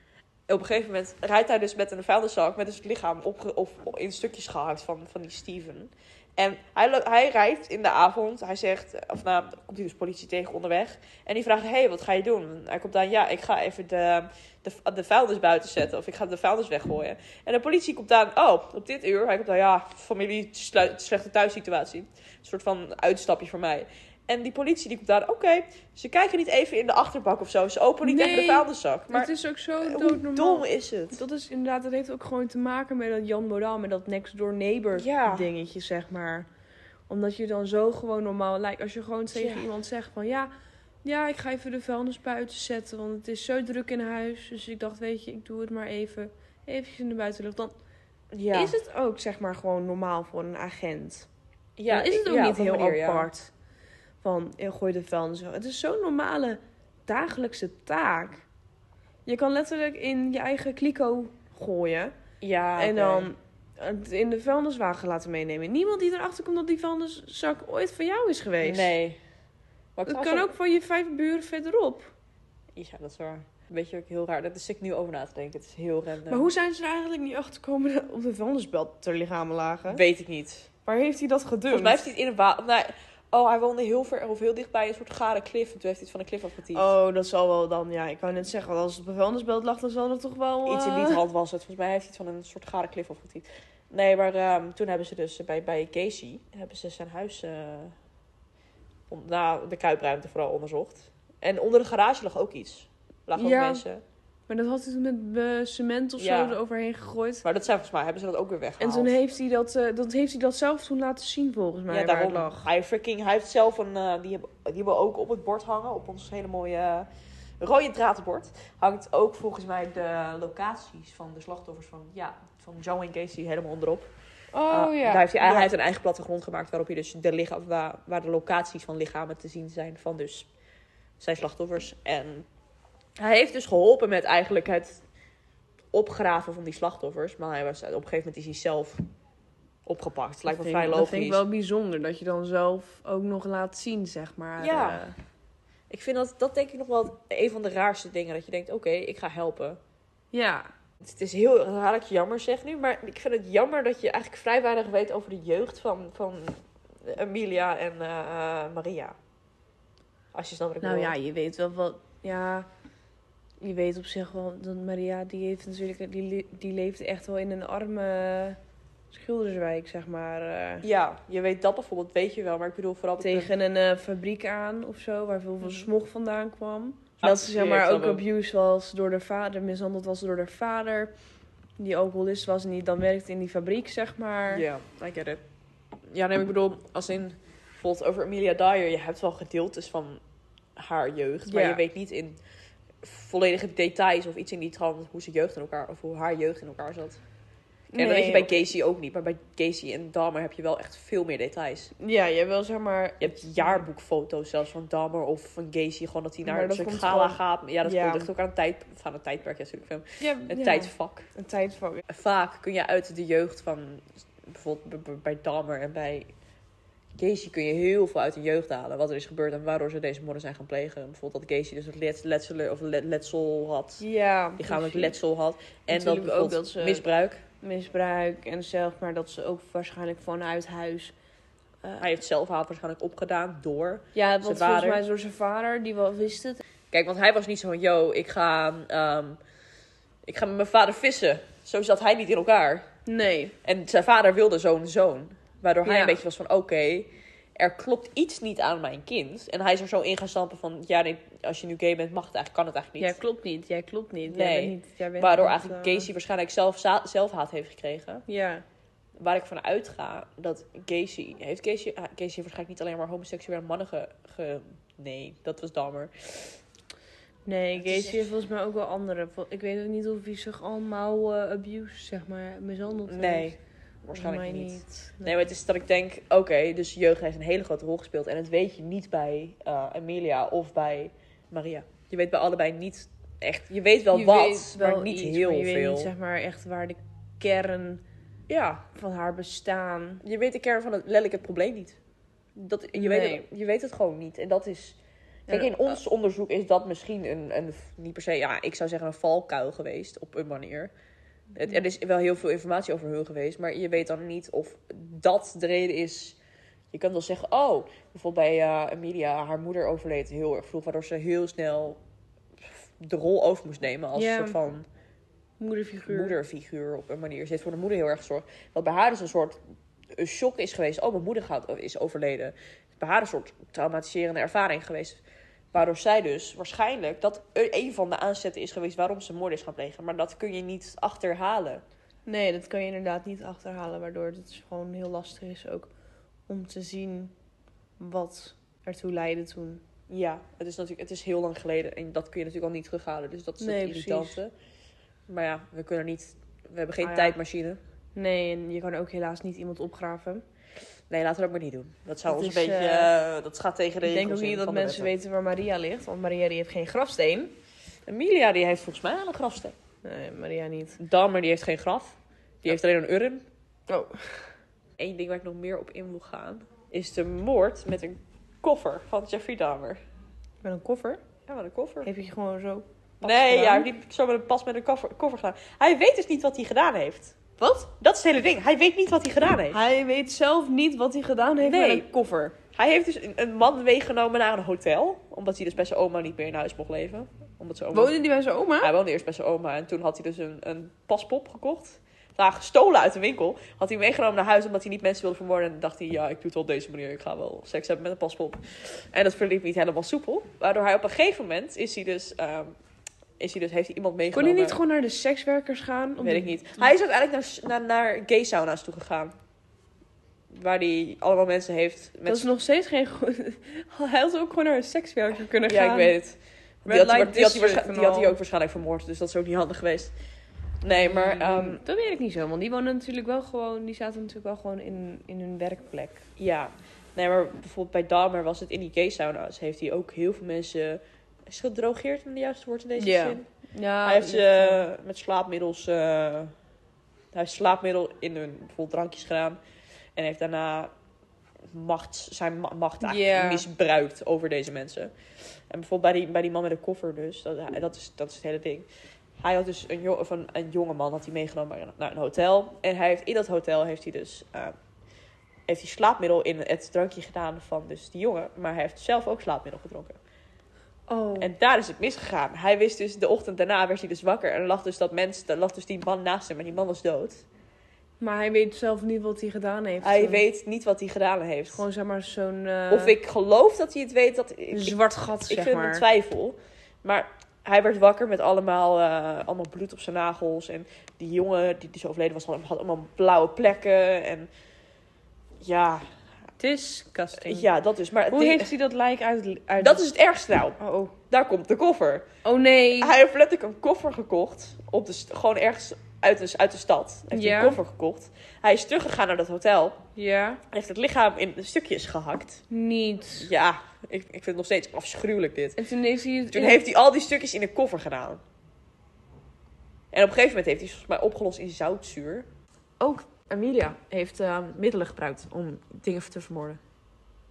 Speaker 2: Op een gegeven moment rijdt hij dus met een vuilniszak met dus het lichaam opge- of in stukjes gehakt van, van die Steven. En hij, lo- hij rijdt in de avond, hij zegt, of nou, dan komt hij dus politie tegen onderweg. En die vraagt, hé, hey, wat ga je doen? En hij komt dan, ja, ik ga even de, de, de vuilnis buiten zetten of ik ga de vuilnis weggooien. En de politie komt dan, oh, op dit uur. Hij komt dan, ja, familie, slu- slechte thuissituatie. Een soort van uitstapje voor mij. En die politie die komt daar, oké, ze kijken niet even in de achterbak of zo. Ze openen niet even
Speaker 1: Nee,
Speaker 2: de vuilniszak. Maar eh,
Speaker 3: het is ook zo
Speaker 2: hoe dom is het?
Speaker 3: Dat is inderdaad, dat heeft ook gewoon te maken met dat Jan Modaal, met dat next door neighbor
Speaker 2: Ja.
Speaker 3: dingetje, zeg maar. Omdat je dan zo gewoon normaal lijkt. Als je gewoon tegen
Speaker 2: Ja.
Speaker 3: iemand zegt van ja, ja, ik ga even de vuilnis buiten zetten, want het is zo druk in huis. Dus ik dacht, weet je, ik doe het maar even, eventjes in de buitenlucht. Dan
Speaker 2: Ja.
Speaker 3: is het ook, zeg maar, gewoon normaal voor een agent.
Speaker 2: ja,
Speaker 3: dan is het
Speaker 2: ik-
Speaker 3: ook
Speaker 2: ja,
Speaker 3: niet
Speaker 2: op een
Speaker 3: heel
Speaker 2: manier, ja.
Speaker 3: apart. Van, eh, gooi de vuilnis weg. Het is zo'n normale dagelijkse taak. Je kan letterlijk in je eigen kliko gooien.
Speaker 2: Ja,
Speaker 3: En
Speaker 2: Ah, oké.
Speaker 3: dan het in de vuilniswagen laten meenemen. Niemand die erachter komt dat die vuilniszak ooit van jou is geweest.
Speaker 2: Nee. Maar ik
Speaker 3: Dat
Speaker 2: was
Speaker 3: kan ook van je vijf buren verderop.
Speaker 2: Ja, dat is waar. Weet je ook heel raar. Dat is ik nu over na te denken. Het is heel random.
Speaker 3: Maar hoe zijn ze er eigenlijk niet achter gekomen dat op de vuilnisbelt ter lichamen lagen?
Speaker 2: Weet ik niet.
Speaker 3: Waar heeft hij dat gedurfd?
Speaker 2: Volgens mij heeft hij het in een wa... Nee. Oh, hij woonde heel ver of heel dichtbij een soort gare klif. En toen heeft hij het van een klif afgetiefd.
Speaker 3: Oh, dat zal wel dan. Ja, ik wou net zeggen, want als het op een vuilnisbelt lag, dan zal dat toch wel...
Speaker 2: Iets in
Speaker 3: eh,
Speaker 2: die hand was het. Volgens mij heeft hij het van een soort gare klif afgetiefd. Nee, maar ehm, toen hebben ze dus bij, bij Casey... hebben ze zijn huis... eh, om, nou, na de kuipruimte vooral onderzocht. En onder de garage lag ook iets. Lagen ook
Speaker 3: Ja.
Speaker 2: mensen.
Speaker 1: Maar dat had hij toen met eh, cement of
Speaker 2: Ja.
Speaker 1: zo eroverheen gegooid.
Speaker 2: Maar dat zijn volgens mij, hebben ze dat ook weer weggehaald.
Speaker 1: En toen heeft hij dat, eh, dat, heeft hij dat zelf toen laten zien, volgens mij.
Speaker 2: ja,
Speaker 1: waar het
Speaker 2: daarom.
Speaker 1: lag.
Speaker 2: Hij, freaking, hij heeft zelf een, eh, die, hebben, die hebben we ook op het bord hangen, op ons hele mooie eh, rode draadbord. Hangt ook volgens mij de locaties van de slachtoffers van, ja, van Joe en Casey helemaal onderop.
Speaker 1: Oh
Speaker 2: Eh,
Speaker 1: ja.
Speaker 2: Daar heeft hij,
Speaker 1: Ja.
Speaker 2: hij heeft een eigen plattegrond gemaakt waarop je dus de lichaam, waar, waar de locaties van lichamen te zien zijn van dus zijn slachtoffers. En hij heeft dus geholpen met eigenlijk het opgraven van die slachtoffers. Maar hij was, op een gegeven moment is hij zelf opgepakt. Het lijkt me
Speaker 1: Dat
Speaker 2: vrij
Speaker 1: vind-
Speaker 2: logisch.
Speaker 1: Dat vind ik wel bijzonder, dat je dan zelf ook nog laat zien, zeg maar.
Speaker 2: Ja.
Speaker 1: eh,
Speaker 2: Ik vind dat, dat denk ik nog wel een van de raarste dingen. Dat je denkt, oké, ik ga helpen.
Speaker 1: ja.
Speaker 2: Het is heel raar dat ik jammer zeg nu. Maar ik vind het jammer dat je eigenlijk vrij weinig weet over de jeugd van, van Emilia en eh, Maria. Als je snapt wat ik
Speaker 1: Nou
Speaker 2: bedoel.
Speaker 1: ja, je weet wel wat... Ja, je weet op zich wel dat Maria, die heeft natuurlijk... Die, le- die leeft echt wel in een arme schilderswijk, zeg maar. eh,
Speaker 2: Ja, je weet dat bijvoorbeeld, weet je wel. Maar ik bedoel vooral... dat-
Speaker 1: tegen een Mhm. eh, fabriek aan of zo, waar veel van smog vandaan kwam.
Speaker 2: Ah,
Speaker 1: dat ze zeg
Speaker 2: ja, ik
Speaker 1: maar
Speaker 2: snap
Speaker 1: ook
Speaker 2: hem.
Speaker 1: abuse was door haar vader, mishandeld was door haar vader. Die alcoholist was en die dan werkte in die fabriek, zeg maar.
Speaker 2: Ja, I get it. Ja, nee, maar ik bedoel, als in bijvoorbeeld over Amelia Dyer, je hebt wel gedeeltes van haar jeugd, maar
Speaker 1: Ja.
Speaker 2: je weet niet in volledige details of iets in die trant hoe ze jeugd in elkaar of hoe haar jeugd in elkaar zat. En dat weet je bij Casey ook niet, maar bij Casey en Dahmer heb je wel echt veel meer details.
Speaker 1: Ja, je wil zeg maar...
Speaker 2: Je hebt jaarboekfoto's zelfs van Dahmer of van Casey, gewoon dat hij
Speaker 1: Maar
Speaker 2: naar
Speaker 1: dat
Speaker 2: een soort
Speaker 1: komt
Speaker 2: gala
Speaker 1: gewoon-
Speaker 2: gaat. Ja, dat
Speaker 1: Ja.
Speaker 2: komt echt ook aan een tijd, of aan een tijdperk, ja, natuurlijk. Een
Speaker 1: Ja, ja.
Speaker 2: tijdvak
Speaker 1: Een tijdvak.
Speaker 2: vaak kun je uit de jeugd van bijvoorbeeld b- b- bij Dahmer en bij Casey kun je heel veel uit de jeugd halen wat er is gebeurd en waardoor ze deze moorden zijn gaan plegen. Bijvoorbeeld dat Casey dus het lets- letselen of le- letsel had,
Speaker 1: Ja,
Speaker 2: lichamelijk
Speaker 1: precies.
Speaker 2: letsel had en dat
Speaker 1: Natuurlijk ook
Speaker 2: bijvoorbeeld
Speaker 1: dat ze-
Speaker 2: misbruik.
Speaker 1: misbruik en zelf, maar dat ze ook waarschijnlijk vanuit huis. eh,
Speaker 2: Hij heeft zelfhaat waarschijnlijk opgedaan door.
Speaker 1: ja,
Speaker 2: zijn
Speaker 1: want volgens
Speaker 2: vader.
Speaker 1: mij door zijn vader, die wel wist het.
Speaker 2: Kijk, want hij was niet zo van yo, ik ga, ehm, ik ga met mijn vader vissen. Zo zat hij niet in elkaar.
Speaker 1: Nee.
Speaker 2: En zijn vader wilde zo'n zoon. Waardoor hij
Speaker 1: Ja.
Speaker 2: een beetje was van, oké, er klopt iets niet aan mijn kind. En hij is er zo in gaan stampen van, ja, nee, als je nu gay bent, mag het eigenlijk, kan het eigenlijk
Speaker 1: Jij
Speaker 2: niet.
Speaker 1: klopt niet, jij klopt niet.
Speaker 2: Nee.
Speaker 1: Jij bent niet jij bent
Speaker 2: Waardoor
Speaker 1: niet,
Speaker 2: eigenlijk
Speaker 1: eh,
Speaker 2: Casey waarschijnlijk zelf za- zelfhaat heeft gekregen.
Speaker 1: Ja.
Speaker 2: Waar ik van uitga dat Casey... Heeft Casey, ah, Casey heeft waarschijnlijk niet alleen maar homoseksuele mannen ge... ge- nee, dat was dammer.
Speaker 1: Nee,
Speaker 2: is
Speaker 1: Gacy heeft volgens mij ook wel andere. Vol- Ik weet ook niet of hij zich allemaal eh, abuse, zeg maar, mishandeld heeft.
Speaker 2: Nee,
Speaker 1: Volgens
Speaker 2: waarschijnlijk
Speaker 1: mij
Speaker 2: niet.
Speaker 1: Nee.
Speaker 2: Nee, maar het is dat ik denk, oké, dus jeugd heeft een hele grote rol gespeeld. En dat weet je niet bij eh Amelia of bij Maria. Je weet bij allebei niet echt, je weet wel
Speaker 1: Je
Speaker 2: wat,
Speaker 1: weet wel
Speaker 2: maar niet
Speaker 1: iets,
Speaker 2: heel
Speaker 1: maar je Weet
Speaker 2: veel.
Speaker 1: niet, zeg maar echt waar de kern
Speaker 2: Ja,
Speaker 1: van haar bestaan.
Speaker 2: je weet de kern van het, letterlijk het probleem niet. Dat, je, weet
Speaker 1: Nee.
Speaker 2: het, je weet het gewoon niet. En dat is, kijk,
Speaker 1: eh,
Speaker 2: in ons onderzoek is dat misschien een, een, niet per se, ja, ik zou zeggen een valkuil geweest op een manier. Het, er is wel heel veel informatie over hun geweest, maar je weet dan niet of dat de reden is. Je kan wel zeggen, oh, bijvoorbeeld bij eh, Amelia, haar moeder overleed heel erg vroeg, waardoor ze heel snel de rol over moest nemen als
Speaker 1: Ja.
Speaker 2: een soort van
Speaker 1: Moederfiguur.
Speaker 2: moederfiguur op een manier. Ze heeft voor de moeder heel erg gezorgd. Wat bij haar dus een soort een shock is geweest. Oh, mijn moeder gaat, is overleden. Bij haar een soort traumatiserende ervaring geweest. Waardoor zij dus waarschijnlijk dat een van de aanzetten is geweest waarom ze moord is gaan plegen. Maar dat kun je niet achterhalen.
Speaker 1: Nee, dat kan je inderdaad niet achterhalen, waardoor het dus gewoon heel lastig is ook om te zien wat ertoe leidde toen.
Speaker 2: Ja, het is natuurlijk het is heel lang geleden en dat kun je natuurlijk al niet terughalen. Dus dat is
Speaker 1: Nee,
Speaker 2: het
Speaker 1: precies.
Speaker 2: irritante. Maar ja, we kunnen niet. We hebben geen
Speaker 1: Ah ja.
Speaker 2: tijdmachine.
Speaker 1: Nee, en je kan ook helaas niet iemand opgraven.
Speaker 2: Nee, laten we dat maar niet doen. Dat zou
Speaker 1: Dat
Speaker 2: ons
Speaker 1: is,
Speaker 2: een beetje.
Speaker 1: eh,
Speaker 2: eh, dat gaat tegen de.
Speaker 1: Ik denk ook
Speaker 2: regels in
Speaker 1: niet dat
Speaker 2: van de
Speaker 1: mensen
Speaker 2: wetten.
Speaker 1: weten waar Maria ligt, want Maria die heeft geen grafsteen.
Speaker 2: Emilia die heeft volgens mij al een grafsteen.
Speaker 1: Nee, Maria niet.
Speaker 2: Dahmer die heeft geen graf. Die heeft alleen een urn.
Speaker 1: Oh.
Speaker 2: Eén ding waar ik nog meer op in wil gaan. Is de moord met een koffer van Jeffrey Dahmer.
Speaker 1: Met een koffer?
Speaker 2: Ja, met een koffer.
Speaker 1: Heb je gewoon zo... pas
Speaker 2: nee,
Speaker 1: gedaan?
Speaker 2: ja, hij heeft niet zo met een pas met een koffer, koffer gedaan. Hij weet dus niet wat hij gedaan heeft. Wat? Dat is het hele ding. Hij weet niet wat hij gedaan heeft.
Speaker 1: Hij weet zelf niet wat hij gedaan heeft
Speaker 2: Nee.
Speaker 1: met een koffer.
Speaker 2: Hij heeft dus een, een man meegenomen naar een hotel. Omdat hij dus bij zijn oma niet meer in huis mocht leven. Omdat zijn oma...
Speaker 1: Woonde die bij zijn oma?
Speaker 2: Hij woonde eerst bij zijn oma en toen had hij dus een, een paspop gekocht. Nou, gestolen uit de winkel. Had hij meegenomen naar huis omdat hij niet mensen wilde vermoorden. En dacht hij, ja, ik doe het wel op deze manier. Ik ga wel seks hebben met een paspop. En dat verliep niet helemaal soepel. Waardoor hij op een gegeven moment is hij dus ehm, is hij dus, heeft hij iemand
Speaker 1: Kon
Speaker 2: meegenomen.
Speaker 1: hij niet gewoon naar de sekswerkers gaan? Om
Speaker 2: Weet
Speaker 1: de-
Speaker 2: ik niet. Hij is uiteindelijk naar, naar, naar gay sauna's toe gegaan. Waar hij allemaal mensen heeft. Met
Speaker 1: Dat is nog steeds geen goed. Hij had ook gewoon naar een sekswerker kunnen gaan.
Speaker 2: ja, ik weet het. Die
Speaker 1: Red
Speaker 2: had, hij,
Speaker 1: light
Speaker 2: die, had hij
Speaker 1: district
Speaker 2: waarsch-
Speaker 1: en
Speaker 2: die had hij
Speaker 1: al.
Speaker 2: ook waarschijnlijk vermoord, dus dat is ook niet handig geweest. Nee, maar ehm,
Speaker 1: Mm. dat weet ik niet zo, want die wonen natuurlijk wel gewoon. Die zaten natuurlijk wel gewoon in, in hun werkplek.
Speaker 2: ja. Nee, maar bijvoorbeeld bij Dahmer was het in die gay sauna's. Heeft hij ook heel veel mensen is gedrogeerd, om het juiste woord in deze
Speaker 1: Ja.
Speaker 2: zin.
Speaker 1: Ja,
Speaker 2: hij heeft ze met slaapmiddels. eh, hij heeft slaapmiddel in hun bijvoorbeeld drankjes gedaan. En heeft daarna macht, zijn ma- macht eigenlijk
Speaker 1: Ja.
Speaker 2: misbruikt over deze mensen. En bijvoorbeeld bij die, bij die man met de koffer dus. Dat, dat, is, dat is het hele ding. Hij had dus een, jo of een, een jonge man had hij meegenomen naar een hotel. En hij heeft, in dat hotel heeft hij dus eh, heeft hij slaapmiddel in het drankje gedaan van dus die jongen. Maar hij heeft zelf ook slaapmiddel gedronken.
Speaker 1: Oh.
Speaker 2: En daar is het misgegaan. Hij wist dus, de ochtend daarna werd hij dus wakker. En er lag dus, dat mens, er lag dus die man naast hem. En die man was dood.
Speaker 1: Maar hij weet zelf niet wat hij gedaan heeft.
Speaker 2: Hij
Speaker 1: Zo'n-
Speaker 2: weet niet wat hij gedaan heeft.
Speaker 1: Gewoon zeg maar zo'n. eh,
Speaker 2: of ik geloof dat hij het weet. Dat, ik
Speaker 1: een
Speaker 2: ik-
Speaker 1: zwart gat,
Speaker 2: ik
Speaker 1: zeg
Speaker 2: vind het
Speaker 1: maar.
Speaker 2: een twijfel. Maar hij werd wakker met allemaal, eh, allemaal bloed op zijn nagels. En die jongen die, die zo overleden was, had had allemaal blauwe plekken. En ja,
Speaker 1: Disgusting.
Speaker 2: ja dat is. Maar het
Speaker 1: Hoe
Speaker 2: ding-
Speaker 1: heeft hij dat lijk uit... uit
Speaker 2: dat is het ergste nou.
Speaker 1: Oh, oh.
Speaker 2: Daar komt de koffer.
Speaker 1: Oh, nee.
Speaker 2: Hij heeft letterlijk een koffer gekocht. Op de, st- gewoon ergens uit de, uit de stad. Hij heeft
Speaker 1: Ja.
Speaker 2: een koffer gekocht. Hij is teruggegaan naar dat hotel.
Speaker 1: Ja.
Speaker 2: Hij heeft het lichaam in stukjes gehakt.
Speaker 1: Niet.
Speaker 2: Ja, ik, ik vind het nog steeds afschuwelijk dit.
Speaker 1: En toen heeft hij... het-
Speaker 2: Toen heeft hij al die stukjes in een koffer gedaan. En op een gegeven moment heeft hij ze volgens mij opgelost in zoutzuur. Ook Amelia heeft ehm, middelen gebruikt om dingen te vermoorden.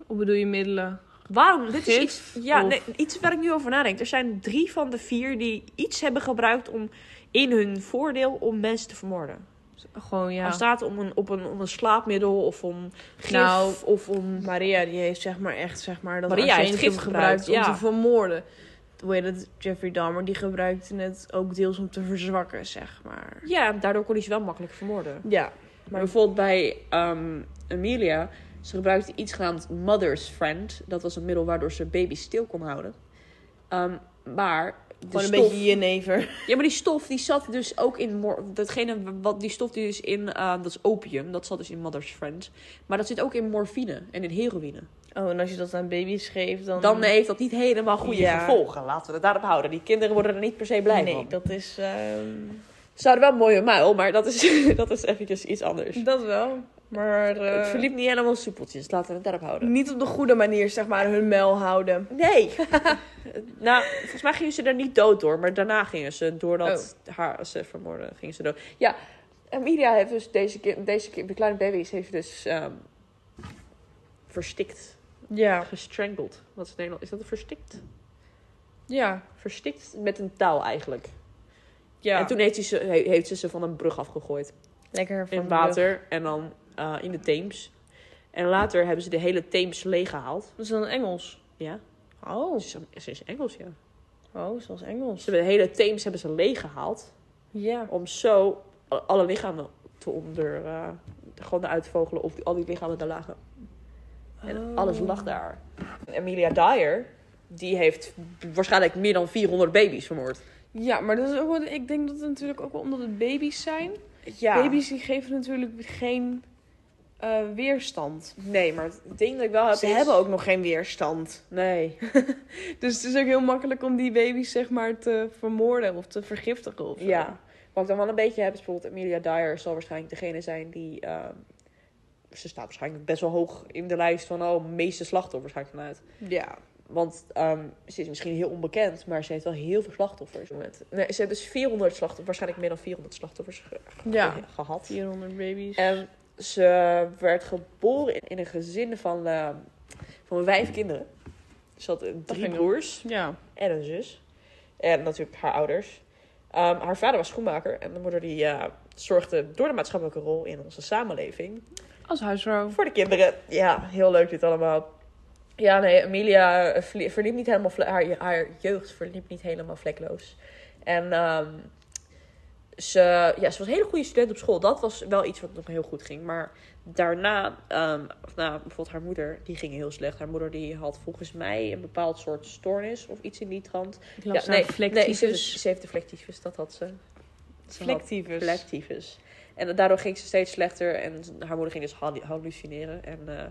Speaker 4: Hoe bedoel je middelen?
Speaker 2: Waarom? Dit is
Speaker 4: Gif
Speaker 2: iets, ja,
Speaker 4: of-
Speaker 2: nee, iets waar ik nu over nadenk. Er zijn drie van de vier die iets hebben gebruikt om in hun voordeel om mensen te vermoorden.
Speaker 4: Gewoon ja.
Speaker 2: Als het gaat om een, op een, om een slaapmiddel of om gif
Speaker 1: Nou,
Speaker 2: of om...
Speaker 1: Maria, die heeft zeg maar echt, zeg maar... Dat
Speaker 2: Maria heeft
Speaker 1: arsenicum
Speaker 2: gif gebruikt,
Speaker 1: om
Speaker 2: ja.
Speaker 1: te vermoorden. Hoe heet het? Jeffrey Dahmer, die gebruikte het ook deels om te verzwakken, zeg maar.
Speaker 2: Ja, daardoor kon hij ze wel makkelijk vermoorden.
Speaker 1: Ja.
Speaker 2: Maar bijvoorbeeld bij ehm, Amelia, ze gebruikte iets genaamd Mother's Friend. Dat was een middel waardoor ze baby's stil kon houden. Ehm, maar de
Speaker 1: Gewoon een
Speaker 2: stof-
Speaker 1: beetje jenever.
Speaker 2: Ja, maar die stof die zat dus ook in... mor- Datgene wat, die stof die dus in... eh, dat is opium, dat zat dus in Mother's Friend. Maar dat zit ook in morfine en in heroïne.
Speaker 1: Oh, en als je dat aan baby's geeft, dan...
Speaker 2: Dan eh, heeft dat niet helemaal goede
Speaker 1: Ja.
Speaker 2: gevolgen. Laten we het daarop houden. Die kinderen worden er niet per se blij
Speaker 1: Nee,
Speaker 2: van.
Speaker 1: dat is... ehm,
Speaker 2: Ze hadden wel een mooie muil, maar dat is, dat is eventjes iets anders.
Speaker 1: Dat wel. Maar... eh,
Speaker 2: Het Dus- verliep niet helemaal soepeltjes. Laten we het daarop houden.
Speaker 1: Niet op de goede manier, zeg maar, hun mel houden.
Speaker 2: Nee. nou, volgens mij gingen ze er niet dood door. Maar daarna gingen ze, doordat
Speaker 1: Oh.
Speaker 2: haar ze vermoorden, gingen ze dood. Ja, Amelia heeft dus deze, ki- deze ki- de kleine baby's heeft dus ehm, verstikt.
Speaker 1: Ja.
Speaker 2: Gestrangeld. Wat is het Nederlands? Is dat een verstikt?
Speaker 1: Ja.
Speaker 2: Verstikt met een touw eigenlijk.
Speaker 1: Ja.
Speaker 2: En toen heeft, hij ze, he- heeft ze ze van een brug afgegooid.
Speaker 1: Lekker van
Speaker 2: In water en dan eh, in de Theems. En later hebben ze de hele Theems leeggehaald.
Speaker 1: Dat is dan Engels.
Speaker 2: Ja,
Speaker 1: Oh.
Speaker 2: ze is, ze is Engels, ja.
Speaker 1: Oh, zoals Engels.
Speaker 2: Ze hebben de hele Theems hebben ze leeggehaald.
Speaker 1: Ja.
Speaker 2: om zo a- alle lichamen te onder... eh, gewoon eruit te vogelen of die- al die lichamen daar lagen.
Speaker 1: Oh.
Speaker 2: En alles lag daar. Amelia Dyer, die heeft waarschijnlijk meer dan 400 baby's vermoord.
Speaker 1: Ja, maar dat is ook wat, ik denk dat het natuurlijk ook wel omdat het baby's zijn.
Speaker 2: Ja.
Speaker 1: Baby's die geven natuurlijk geen eh, weerstand.
Speaker 2: Nee, maar het ding dat ik wel heb
Speaker 1: Ze
Speaker 2: is-
Speaker 1: hebben ook nog geen weerstand.
Speaker 2: Nee.
Speaker 1: Dus het is ook heel makkelijk om die baby's zeg maar te vermoorden of te vergiftigen of zo.
Speaker 2: Ja. Wat ik dan wel een beetje heb is bijvoorbeeld Amelia Dyer zal waarschijnlijk degene zijn die... ehm, ze staat waarschijnlijk best wel hoog in de lijst van oh, meeste slachtoffers ga ik vanuit.
Speaker 1: Ja.
Speaker 2: Want ehm, ze is misschien heel onbekend, maar ze heeft wel heel veel slachtoffers. Nee, ze heeft dus 400 slachtoffers, waarschijnlijk meer dan 400 slachtoffers ge- ge-
Speaker 1: Ja.
Speaker 2: gehad.
Speaker 1: 400 baby's.
Speaker 2: En ze werd geboren in- in een gezin van, eh, van vijf kinderen. Ze had eh, drie
Speaker 1: ging
Speaker 2: broers
Speaker 1: Ja.
Speaker 2: en een zus. En natuurlijk haar ouders. Ehm, haar vader was schoenmaker en de moeder die, eh, zorgde door de maatschappelijke rol in onze samenleving
Speaker 4: Als huisvrouw.
Speaker 2: voor de kinderen. Ja, heel leuk dit allemaal. Ja, nee, Amelia eh, vlie- verliep niet helemaal vle- haar, haar jeugd verliep niet helemaal vlekloos. En ehm, ze, ja, ze was een hele goede student op school. Dat was wel iets wat nog heel goed ging. Maar daarna, ehm, of nou, bijvoorbeeld haar moeder, die ging heel slecht. Haar moeder die had volgens mij een bepaald soort stoornis of iets in die trant.
Speaker 5: Ik las
Speaker 2: Ja,
Speaker 5: naar flectiefus.
Speaker 2: Nee, ze, ze heeft de flectiefus, dat had ze. Ze had
Speaker 1: Flectiefus.
Speaker 2: Flectiefus. En daardoor ging ze steeds slechter. En haar moeder ging dus hallu- hallucineren. En eh,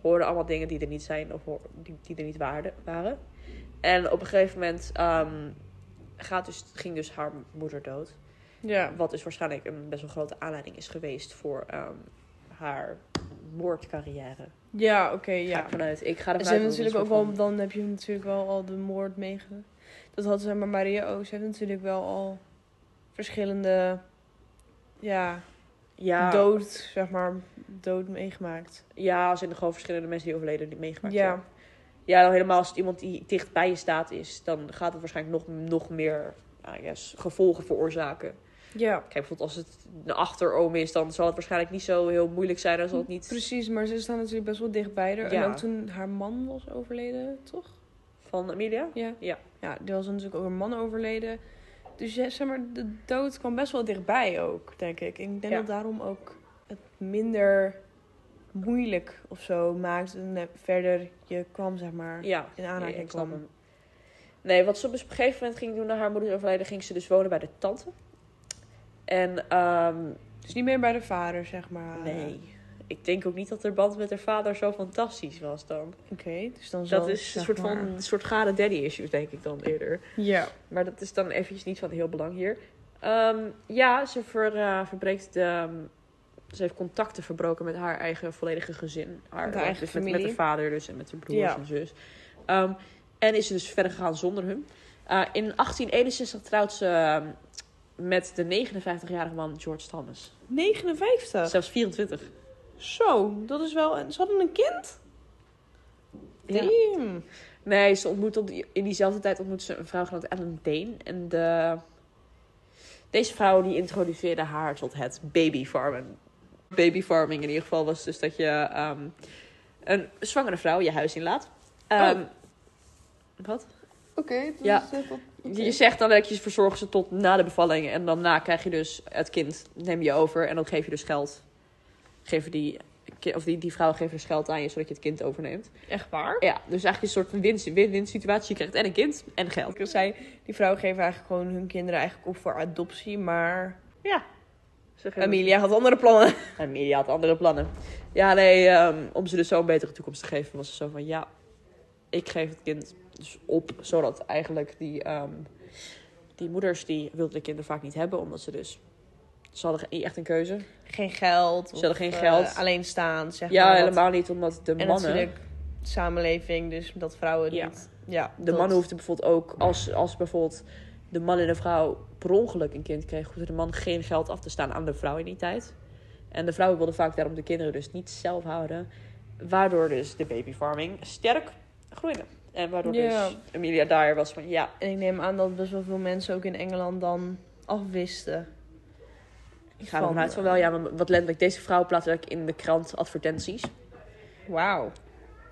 Speaker 2: hoorde allemaal dingen die er niet zijn. Of hoor- die, die er niet waarde- waren. En op een gegeven moment ehm, gaat dus, ging dus haar moeder dood.
Speaker 1: Ja.
Speaker 2: Wat dus waarschijnlijk een best wel grote aanleiding is geweest voor ehm, haar moordcarrière.
Speaker 1: Ja, oké,
Speaker 2: Ja. Ga
Speaker 1: ja.
Speaker 2: ik vanuit. Ik ga
Speaker 1: Ze hebben
Speaker 2: ervan uit dat het
Speaker 1: natuurlijk
Speaker 2: een
Speaker 1: ook
Speaker 2: soort
Speaker 1: wel, dan heb je natuurlijk wel al de moord meege. Dat had ze maar Maria Oos. Ze heeft natuurlijk wel al verschillende, ja,
Speaker 2: van- Ja,
Speaker 1: dood, zeg maar, dood meegemaakt.
Speaker 2: ja, er zijn gewoon verschillende mensen die overleden die meegemaakt
Speaker 1: ja.
Speaker 2: hebben. Ja, nou helemaal als het iemand die dicht bij je staat is, dan gaat het waarschijnlijk nog, nog meer I guess, gevolgen veroorzaken.
Speaker 1: Ja,
Speaker 2: Kijk, bijvoorbeeld als het een achteroom is, dan zal het waarschijnlijk niet zo heel moeilijk zijn. Dan zal het niet
Speaker 1: precies. Maar ze staan natuurlijk best wel dichtbij er.
Speaker 2: Ja.
Speaker 1: En ook toen haar man was overleden, toch?
Speaker 2: van Amelia.
Speaker 1: Ja.
Speaker 2: Ja.
Speaker 1: Ja, er was natuurlijk ook een man overleden. Dus ja, zeg maar, de dood kwam best wel dichtbij ook, denk ik. En ik denk
Speaker 2: Ja.
Speaker 1: dat daarom ook het minder moeilijk of zo maakt. En eh, verder je kwam, zeg maar,
Speaker 2: Ja,
Speaker 1: in
Speaker 2: nee,
Speaker 1: aanraking
Speaker 2: ik snap
Speaker 1: kwam.
Speaker 2: hem. Nee, wat ze op een gegeven moment ging doen na haar moeder overlijden, ging ze dus wonen bij de tante. En ehm,
Speaker 1: Dus niet meer bij de vader, zeg maar.
Speaker 2: nee, ik denk ook niet dat haar band met haar vader zo fantastisch was dan.
Speaker 1: Oké, dus dan zal
Speaker 2: Dat is een
Speaker 1: zeg
Speaker 2: soort van
Speaker 1: maar-
Speaker 2: een soort gare daddy issues, denk ik dan eerder.
Speaker 1: Ja.
Speaker 2: Maar dat is dan eventjes niet van heel belang hier. Ehm, ja, ze ver, eh, verbreekt de. ze heeft contacten verbroken met haar eigen volledige gezin. Haar,
Speaker 1: Met haar eigen
Speaker 2: dus met, met
Speaker 1: familie.
Speaker 2: haar vader dus en met haar broers
Speaker 1: Ja.
Speaker 2: en zus. Ehm, en is ze dus verder gegaan zonder hun. Eh, in 1861 trouwt ze ehm, met de 59-jarige man George Thomas.
Speaker 1: 59.
Speaker 2: Zelfs 24.
Speaker 1: Zo, dat is wel... Ze hadden een kind?
Speaker 2: Ja.
Speaker 1: Damn.
Speaker 2: Nee, ze ontmoet op die- in diezelfde tijd ontmoet ze een vrouw genaamd Ellen Dane. En de, deze vrouw die introduceerde haar tot het babyfarmen. Babyfarming in ieder geval was dus dat je ehm, een zwangere vrouw je huis inlaat. Ehm, Wat?
Speaker 1: Oké,
Speaker 2: Ja.
Speaker 1: dat is
Speaker 2: Je zegt dan dat je verzorgt ze tot na de bevalling. En dan na krijg je dus het kind, neem je over. En dan geef je dus geld. Geven die, ki- of die, die vrouw geeft dus geld aan je, zodat je het kind overneemt.
Speaker 1: Echt waar?
Speaker 2: Ja, dus eigenlijk een soort win- win-win situatie. Je krijgt en een kind en geld.
Speaker 1: Ik al zei, die vrouwen geven eigenlijk gewoon hun kinderen eigenlijk op voor adoptie, maar Amelia had andere plannen.
Speaker 2: Amelia had andere plannen. Ja, nee, ehm, om ze dus zo een betere toekomst te geven, was ze zo van ja, ik geef het kind dus op. Zodat eigenlijk die, ehm, die moeders die wilden de kinderen vaak niet hebben, omdat ze dus. Ze hadden niet echt een keuze.
Speaker 1: Geen geld.
Speaker 2: Ze hadden geen
Speaker 1: eh,
Speaker 2: geld.
Speaker 1: alleen staan, zeg
Speaker 2: ja,
Speaker 1: maar. wat-
Speaker 2: helemaal niet, omdat de
Speaker 1: En
Speaker 2: mannen.
Speaker 1: natuurlijk samenleving, dus dat vrouwen
Speaker 2: Ja.
Speaker 1: niet... Ja,
Speaker 2: De
Speaker 1: dat-
Speaker 2: mannen hoefden bijvoorbeeld ook, als, als bijvoorbeeld de man en de vrouw per ongeluk een kind kregen, hoefde de man geen geld af te staan aan de vrouw in die tijd. En de vrouwen wilden vaak daarom de kinderen dus niet zelf houden. Waardoor dus de babyfarming sterk groeide. En waardoor
Speaker 1: Ja.
Speaker 2: dus Amelia daar was van, ja,
Speaker 1: En ik neem aan dat best wel veel mensen ook in Engeland dan afwisten.
Speaker 2: ik ga ervan
Speaker 1: eh,
Speaker 2: uit van wel, ja, maar wat letterlijk, deze vrouw plaatste eigenlijk in de krant advertenties.
Speaker 1: Wauw.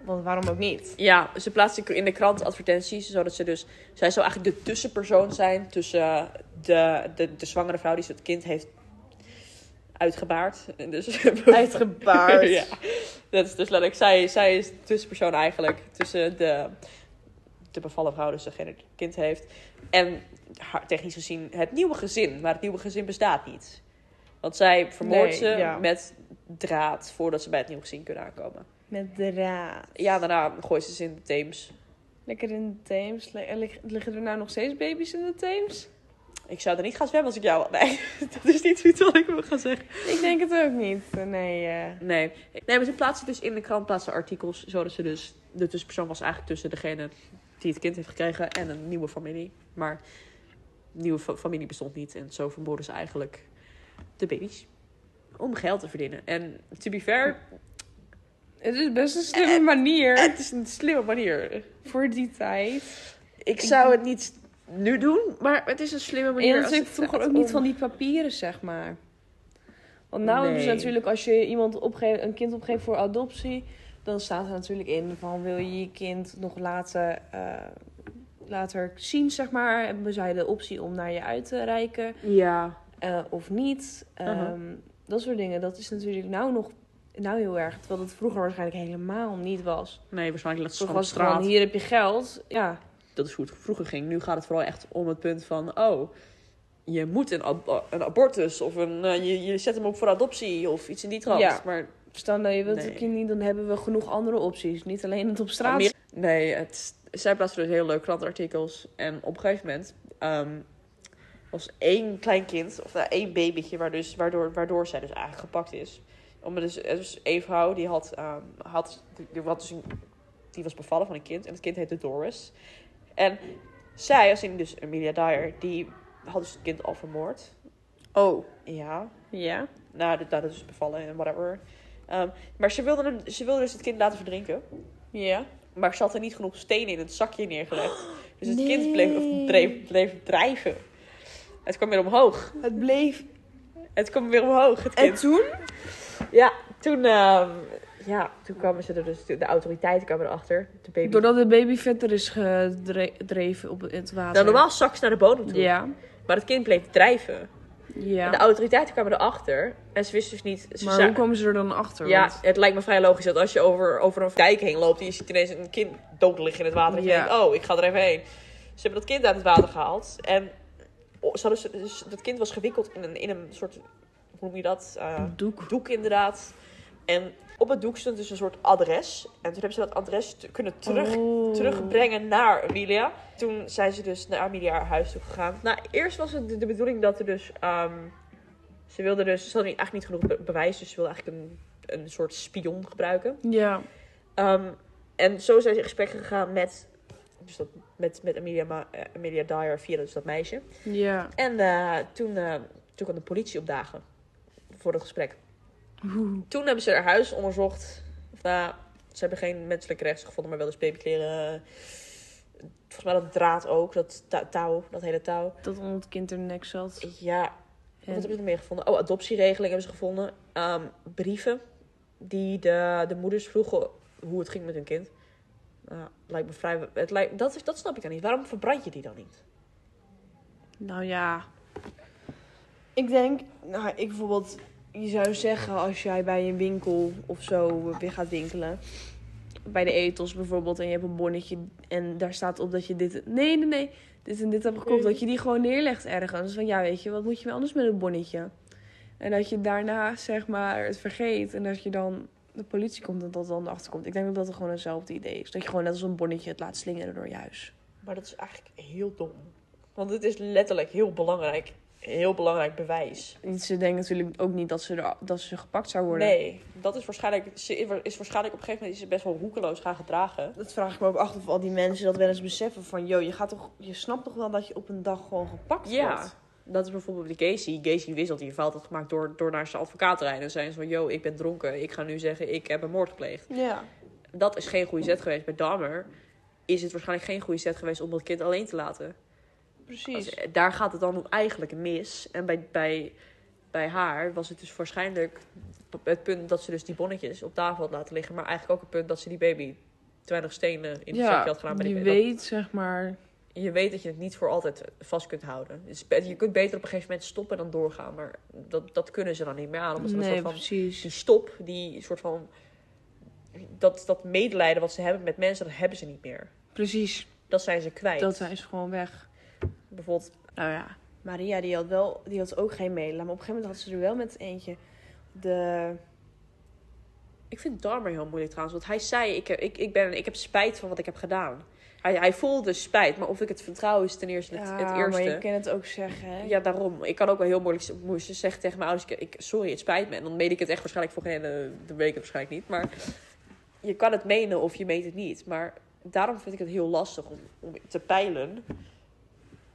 Speaker 1: Want waarom ook niet?
Speaker 2: Ja, ze plaatste in de krant advertenties, zodat ze dus... Zij zou eigenlijk de tussenpersoon zijn tussen eh, de, de, de zwangere vrouw die ze het kind heeft uitgebaard. En Dus,
Speaker 1: Uitgebaard.
Speaker 2: ja, dat is dus letterlijk... Zij, zij is de tussenpersoon eigenlijk tussen de, de bevallen vrouw, dus degene die het kind heeft... en haar, technisch gezien het nieuwe gezin. Maar het nieuwe gezin bestaat niet. Want zij vermoordt
Speaker 1: Nee,
Speaker 2: ze
Speaker 1: ja.
Speaker 2: met draad voordat ze bij het nieuwe gezin kunnen aankomen.
Speaker 1: Met de raad.
Speaker 2: Ja, daarna gooit ze ze in de Theems.
Speaker 1: Lekker in de Theems. Le- lig- Liggen er nou nog steeds baby's in de Theems?
Speaker 2: Ik zou er niet gaan zwemmen als ik jou had. Nee, dat is niet iets wat ik wil gaan zeggen.
Speaker 1: Ik denk het ook niet. Nee, eh,
Speaker 2: Nee. nee, maar ze plaatsen dus in de krant plaatsen artikels. Zodat ze dus... De tussenpersoon was eigenlijk tussen degene die het kind heeft gekregen en een nieuwe familie. Maar nieuwe fa- familie bestond niet. En zo vermoorden ze eigenlijk de baby's. Om geld te verdienen. En to be fair,
Speaker 1: het is best een slimme manier.
Speaker 2: het is een slimme manier.
Speaker 1: voor die tijd.
Speaker 2: Ik zou het niet nu doen, maar het is een slimme manier.
Speaker 1: En
Speaker 2: als
Speaker 1: natuurlijk
Speaker 2: het
Speaker 1: vroeger
Speaker 2: gaat
Speaker 1: ook niet
Speaker 2: om-
Speaker 1: van die papieren, zeg maar. Want nou hebben ze
Speaker 2: Nee.
Speaker 1: natuurlijk, als je iemand opgeeft, een kind opgeeft voor adoptie, dan staat er natuurlijk in van wil je je kind nog laten, eh, later zien, zeg maar. Hebben zij de optie om naar je uit te reiken.
Speaker 2: Ja.
Speaker 1: eh, of niet. Ehm,
Speaker 2: Aha.
Speaker 1: Dat soort dingen. Dat is natuurlijk nou nog nou heel erg. Terwijl dat vroeger waarschijnlijk helemaal niet was.
Speaker 2: Nee, waarschijnlijk laat ze
Speaker 1: Vroeger
Speaker 2: gewoon op
Speaker 1: was het gewoon,
Speaker 2: straat.
Speaker 1: hier heb je geld. Ja,
Speaker 2: Dat is hoe het vroeger ging. Nu gaat het vooral echt om het punt van... Oh, je moet een, ab- een abortus. Of een, eh, je, je zet hem op voor adoptie. Of iets in die trant.
Speaker 1: Ja.
Speaker 2: Maar
Speaker 1: stel dat je wilt
Speaker 2: Nee.
Speaker 1: een kind niet, dan hebben we genoeg andere opties. Niet alleen het op straat.
Speaker 2: Ameri- Nee, het, zij plaatste dus heel leuk krantenartikels. En op een gegeven moment ehm, was één klein kind, of nou, één babytje, waar dus, waardoor, waardoor zij dus eigenlijk gepakt is. Omdat dus, er was één vrouw die had, ehm, had, die, had dus een- die was bevallen van een kind. En het kind heette Doris. En zij, als in dus Amelia Dyer, die had dus het kind al vermoord.
Speaker 1: Oh.
Speaker 2: Ja,
Speaker 1: Ja.
Speaker 2: nou, dat, dat is dus bevallen en whatever. Ehm, maar ze wilde, hem, ze wilde dus het kind laten verdrinken.
Speaker 1: Ja.
Speaker 2: Maar ze had er niet genoeg stenen in het zakje neergelegd. Dus het
Speaker 1: nee.
Speaker 2: kind bleef, of dreef, bleef drijven. Het kwam weer omhoog.
Speaker 1: Het bleef.
Speaker 2: Het kwam weer omhoog, het
Speaker 1: En
Speaker 2: kind.
Speaker 1: toen?
Speaker 2: Ja, toen, ehm, ja, toen kwamen ze er dus, de autoriteiten kwamen erachter. De baby.
Speaker 1: Doordat de baby verder is gedreven op het water.
Speaker 2: Nou, normaal zak ze naar de bodem toe.
Speaker 1: Ja.
Speaker 2: Maar het kind bleef drijven. En
Speaker 1: Ja.
Speaker 2: de autoriteiten kwamen erachter. En ze wisten dus niet... Ze
Speaker 1: Maar
Speaker 2: zei-
Speaker 1: hoe komen ze er dan achter?
Speaker 2: ja,
Speaker 1: Want-
Speaker 2: het lijkt me vrij logisch dat als je over, over een dijk heen loopt... en je ziet ineens een kind dood liggen in het water. En je
Speaker 1: Ja.
Speaker 2: denkt, oh, ik ga er even heen. Ze hebben dat kind uit het water gehaald. En oh, ze hadden, ze- dus dat kind was gewikkeld in een, in een soort... Hoe noem je dat? Eh,
Speaker 1: doek.
Speaker 2: doek inderdaad. En op het doek stond dus een soort adres. En toen hebben ze dat adres te- kunnen terug,
Speaker 1: Oh.
Speaker 2: terugbrengen naar Amelia. Toen zijn ze dus naar Amelia haar huis toe gegaan. Nou, eerst was het de, de bedoeling dat er dus... ehm, ze wilden dus... Ze hadden eigenlijk niet genoeg be- bewijs. Dus ze wilden eigenlijk een, een soort spion gebruiken.
Speaker 1: Ja.
Speaker 2: Ehm, en zo zijn ze in gesprek gegaan met... Dus dat, met, met Amelia, Ma- eh, Amelia Dyer via dus dat meisje.
Speaker 1: Ja.
Speaker 2: En eh, toen, eh, toen kwam de politie opdagen voor het gesprek.
Speaker 1: Oeh.
Speaker 2: Toen hebben ze haar huis onderzocht. Of, nou, ze hebben geen menselijke rechts gevonden, maar wel eens babykleren. Volgens mij dat draad ook, dat ta- touw, dat hele touw.
Speaker 1: Dat onder het kind er nek zat.
Speaker 2: Ja, wat
Speaker 1: En-
Speaker 2: hebben ze er meer gevonden? Oh, adoptieregeling hebben ze gevonden. Ehm, brieven die de, de moeders vroegen hoe het ging met hun kind. Nou, lijkt me vrij... Het lijkt, dat, is- dat snap ik dan niet. Waarom verbrand je die dan niet?
Speaker 1: Nou ja. Ik denk, nou, ik bijvoorbeeld, je zou zeggen als jij bij een winkel of zo weer gaat winkelen. Bij de etels bijvoorbeeld, en je hebt een bonnetje en daar staat op dat je dit. Nee, nee, nee. Dit en dit heb gekocht. Dat je die gewoon neerlegt ergens. Van ja, weet je, wat moet je anders met het bonnetje? En dat je daarna zeg maar het vergeet en dat je dan de politie komt en dat dan erachter komt. Ik denk dat dat gewoon hetzelfde idee is. Dat je gewoon net als een bonnetje het laat slingeren door je huis.
Speaker 2: Maar dat is eigenlijk heel dom. Want het is letterlijk heel belangrijk. Heel belangrijk bewijs.
Speaker 1: Ze denken natuurlijk ook niet dat ze, er, dat ze gepakt zou worden.
Speaker 2: Nee, dat is waarschijnlijk. Ze is waarschijnlijk op een gegeven moment is ze best wel hoekeloos gaan gedragen.
Speaker 1: Dat vraag ik me ook af of al die mensen dat wel eens beseffen van... ...joh, je, gaat toch, je snapt toch wel dat je op een dag gewoon gepakt wordt?
Speaker 2: Dat is bijvoorbeeld de Casey. Casey wisselt die fout had gemaakt door, door naar zijn advocaat te rijden. En zei ze van, yo, ik ben dronken. Ik ga nu zeggen, ik heb een moord gepleegd.
Speaker 1: Ja.
Speaker 2: Dat is geen goede zet geweest. Bij Dahmer is het waarschijnlijk geen goede zet geweest om dat kind alleen te laten.
Speaker 1: Precies.
Speaker 2: Als- daar gaat het dan eigenlijk mis. En bij, bij, bij haar was het dus waarschijnlijk het punt dat ze dus die bonnetjes op tafel had laten liggen. Maar eigenlijk ook het punt dat ze die baby te weinig stenen in het zakje had gedaan. bij die
Speaker 1: je
Speaker 2: baby. Dat-
Speaker 1: weet zeg maar...
Speaker 2: je weet dat je het niet voor altijd vast kunt houden. Dus be- je kunt beter op een gegeven moment stoppen dan doorgaan. Maar dat, dat kunnen ze dan niet meer aan. Omdat ze een
Speaker 1: Nee,
Speaker 2: soort van
Speaker 1: precies.
Speaker 2: die stop, die soort van. Dat, dat medelijden wat ze hebben met mensen, dat hebben ze niet meer.
Speaker 1: Precies.
Speaker 2: Dat zijn ze kwijt.
Speaker 1: Dat is gewoon weg.
Speaker 2: Bijvoorbeeld,
Speaker 1: Nou ja. Maria die had, wel, die had ook geen medelijden. Maar op een gegeven moment had ze er wel met eentje de...
Speaker 2: ik vind Dahmer heel moeilijk trouwens. Want hij zei: ik heb, ik, ik, ben, ik heb spijt van wat ik heb gedaan. Hij, hij voelde spijt, maar of ik het vertrouw is ten eerste het,
Speaker 1: Ah,
Speaker 2: het eerste.
Speaker 1: maar je kan het ook zeggen, hè?
Speaker 2: Ja, daarom. Ik kan ook wel heel moeilijk z- moeilijk zeggen tegen mijn ouders: ik, ik- sorry, het spijt me. En dan meen ik het echt waarschijnlijk voor geen. eh, Dan weet ik het waarschijnlijk niet. Maar je kan het menen of je meent het niet. Maar daarom vind ik het heel lastig om, om te peilen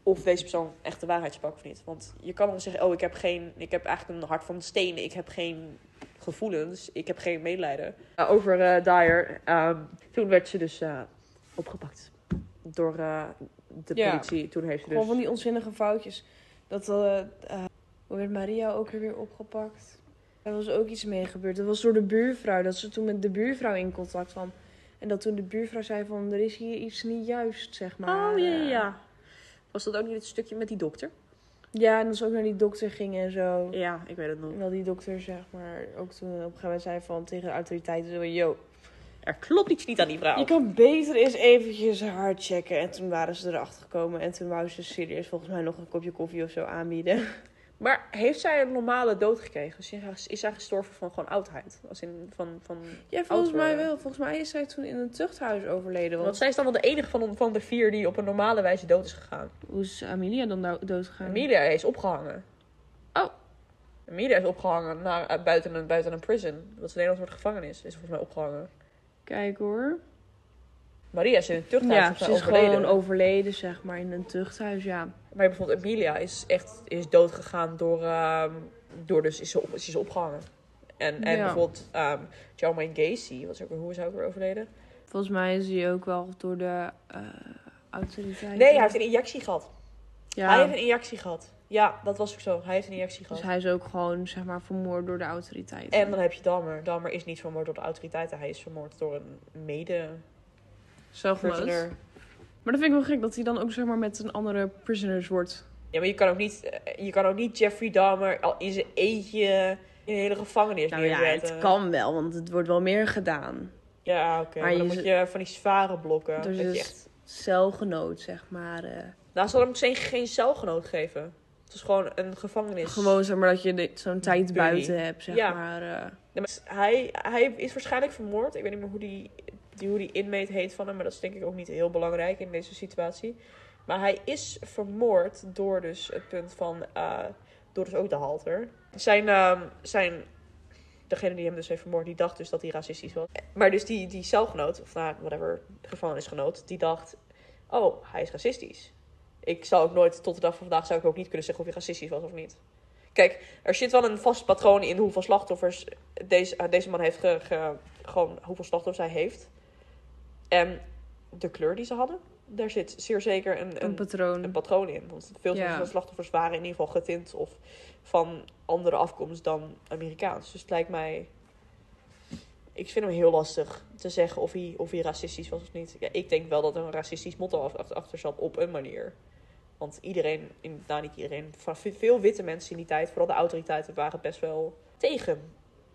Speaker 2: of deze persoon echt de waarheid sprak of niet. Want je kan wel zeggen: oh, ik heb, geen, ik heb eigenlijk een hart van steen. Ik heb geen gevoelens. Ik heb geen medelijden. Nou, over eh Dyer. ehm, toen werd ze dus eh, opgepakt door eh, de
Speaker 1: Ja.
Speaker 2: politie. Toen heeft ze dus.
Speaker 1: Gewoon van die onzinnige foutjes. Dat eh, eh, hoe werd Maria ook er weer opgepakt. Er was ook iets mee gebeurd. Dat was door de buurvrouw. Dat ze toen met de buurvrouw in contact kwam. En dat toen de buurvrouw zei van er is hier iets niet juist, zeg maar.
Speaker 2: Oh ja, ja,
Speaker 1: Eh,
Speaker 2: ja. Was dat ook niet het stukje met die dokter?
Speaker 3: Ja, en dat ze ook naar die dokter gingen en zo.
Speaker 1: Ja, ik weet het nog.
Speaker 3: En dat die dokter, zeg maar, ook toen op een gegeven moment zei van tegen de autoriteiten: zo, van, yo,
Speaker 2: Er klopt iets niet aan die vrouw.
Speaker 3: je kan beter eens eventjes haar checken. En toen waren ze erachter gekomen en toen wou ze serieus volgens mij nog een kopje koffie of zo aanbieden.
Speaker 2: Maar heeft zij een normale dood gekregen? Dus is- is zij gestorven van gewoon oudheid? Als in van, van...
Speaker 3: Ja, volgens mij wel. Volgens mij is zij toen in een tuchthuis overleden.
Speaker 2: Want
Speaker 3: Want
Speaker 2: zij is dan wel de enige van, van de vier die op een normale wijze dood is gegaan.
Speaker 1: Hoe is Amelia dan nou doodgegaan?
Speaker 2: Amelia is opgehangen.
Speaker 1: Oh.
Speaker 2: Amelia is opgehangen naar, eh, buiten, een, buiten een prison. Dat is een Nederlands soort gevangenis. Is ze volgens mij opgehangen.
Speaker 1: Kijk hoor.
Speaker 2: Maria is in een tuchthuis
Speaker 3: ja,
Speaker 2: volgens
Speaker 3: ze
Speaker 2: mij
Speaker 3: is
Speaker 2: overleden.
Speaker 3: gewoon overleden, zeg maar, in een tuchthuis, ja.
Speaker 2: Maar bijvoorbeeld Amelia is echt is dood gegaan door, ehm, door dus is ze, op, is ze opgehangen. En, en
Speaker 1: Ja.
Speaker 2: bijvoorbeeld ehm Charmaine Gacy, was ook, hoe is hij ook weer overleden?
Speaker 1: Volgens mij is hij ook wel door de eh autoriteiten.
Speaker 2: Nee, hij heeft een injectie gehad.
Speaker 1: Ja,
Speaker 2: Hij heeft een injectie gehad. Ja, dat was ook zo. Hij heeft een injectie
Speaker 1: dus
Speaker 2: gehad.
Speaker 1: hij is ook gewoon, zeg maar, vermoord door de autoriteiten.
Speaker 2: En dan heb je Dahmer. Dahmer is niet vermoord door de autoriteiten. Hij is vermoord door een mede-prisoner.
Speaker 1: Zo groot. Maar dat vind ik wel gek, dat hij dan ook, zeg maar, met een andere prisoners wordt.
Speaker 2: Ja, maar je kan ook niet, eh, je kan ook niet Jeffrey Dahmer al in zijn eentje in een hele gevangenis
Speaker 3: Nou ja, het
Speaker 2: neerzetten.
Speaker 3: kan wel, want het wordt wel meer gedaan.
Speaker 2: Ja, oké.
Speaker 3: Maar
Speaker 2: Maar dan
Speaker 3: je
Speaker 2: moet je van die zware blokken.
Speaker 3: Dus
Speaker 2: dat je
Speaker 3: is-
Speaker 2: echt
Speaker 3: Celgenoot, zeg maar. eh.
Speaker 2: Nou, ze hadden hem geen, geen celgenoot geven. Het was gewoon een gevangenis.
Speaker 3: Gewoon zeg maar dat je de- zo'n tijd
Speaker 2: Bunny.
Speaker 3: buiten hebt, zeg
Speaker 2: Ja.
Speaker 3: maar. eh.
Speaker 2: Nee, maar hij, hij is waarschijnlijk vermoord. Ik weet niet meer hoe die, die, hoe die inmate heet van hem. Maar dat is denk ik ook niet heel belangrijk in deze situatie. Maar hij is vermoord door dus het punt van... eh, door dus ook de halter. Zijn, ehm, zijn... Degene die hem dus heeft vermoord, die dacht dus dat hij racistisch was. Maar dus die, die celgenoot, of nou, whatever, gevangenisgenoot, die dacht... Oh, hij is racistisch. Ik zou ook nooit, tot de dag van vandaag, zou ik ook niet kunnen zeggen of hij racistisch was of niet. Kijk, er zit wel een vast patroon in hoeveel slachtoffers deze, eh, deze man heeft ge- ge- gewoon hoeveel slachtoffers hij heeft. En de kleur die ze hadden, daar zit zeer zeker een,
Speaker 1: Een
Speaker 2: een,
Speaker 1: patroon.
Speaker 2: een patroon in. Want veel
Speaker 1: Ja.
Speaker 2: van de slachtoffers waren in ieder geval getint of van andere afkomst dan Amerikaans. Dus het lijkt mij. Ik vind hem heel lastig te zeggen of hij, of hij racistisch was of niet. Ja, ik denk wel dat er een racistisch motto af- af- achter zat op een manier. Want iedereen, in, nou niet iedereen, van ve- veel witte mensen in die tijd, vooral de autoriteiten, waren best wel tegen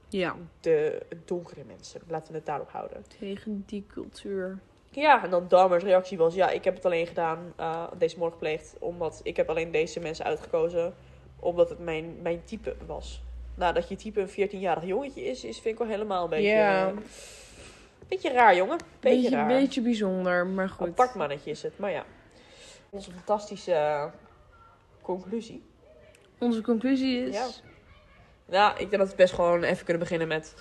Speaker 1: Ja,
Speaker 2: de donkere mensen. Laten we het daarop houden.
Speaker 1: tegen die cultuur.
Speaker 2: Ja, en dan Dahmer's reactie was: Ja, ik heb het alleen gedaan, eh, deze moord gepleegd, omdat ik heb alleen deze mensen uitgekozen, omdat het mijn, mijn type was. Nou, dat je type een 14-jarig jongetje is, is, vind ik wel helemaal een beetje.
Speaker 3: Ja.
Speaker 2: eh, beetje raar, jongen. Beetje,
Speaker 1: Beetje,
Speaker 2: raar.
Speaker 1: beetje bijzonder, maar goed.
Speaker 2: Apart mannetje is het, maar ja. Onze fantastische eh, conclusie.
Speaker 1: Onze conclusie is...
Speaker 2: Ja. Nou, ik denk dat we best gewoon even kunnen beginnen met.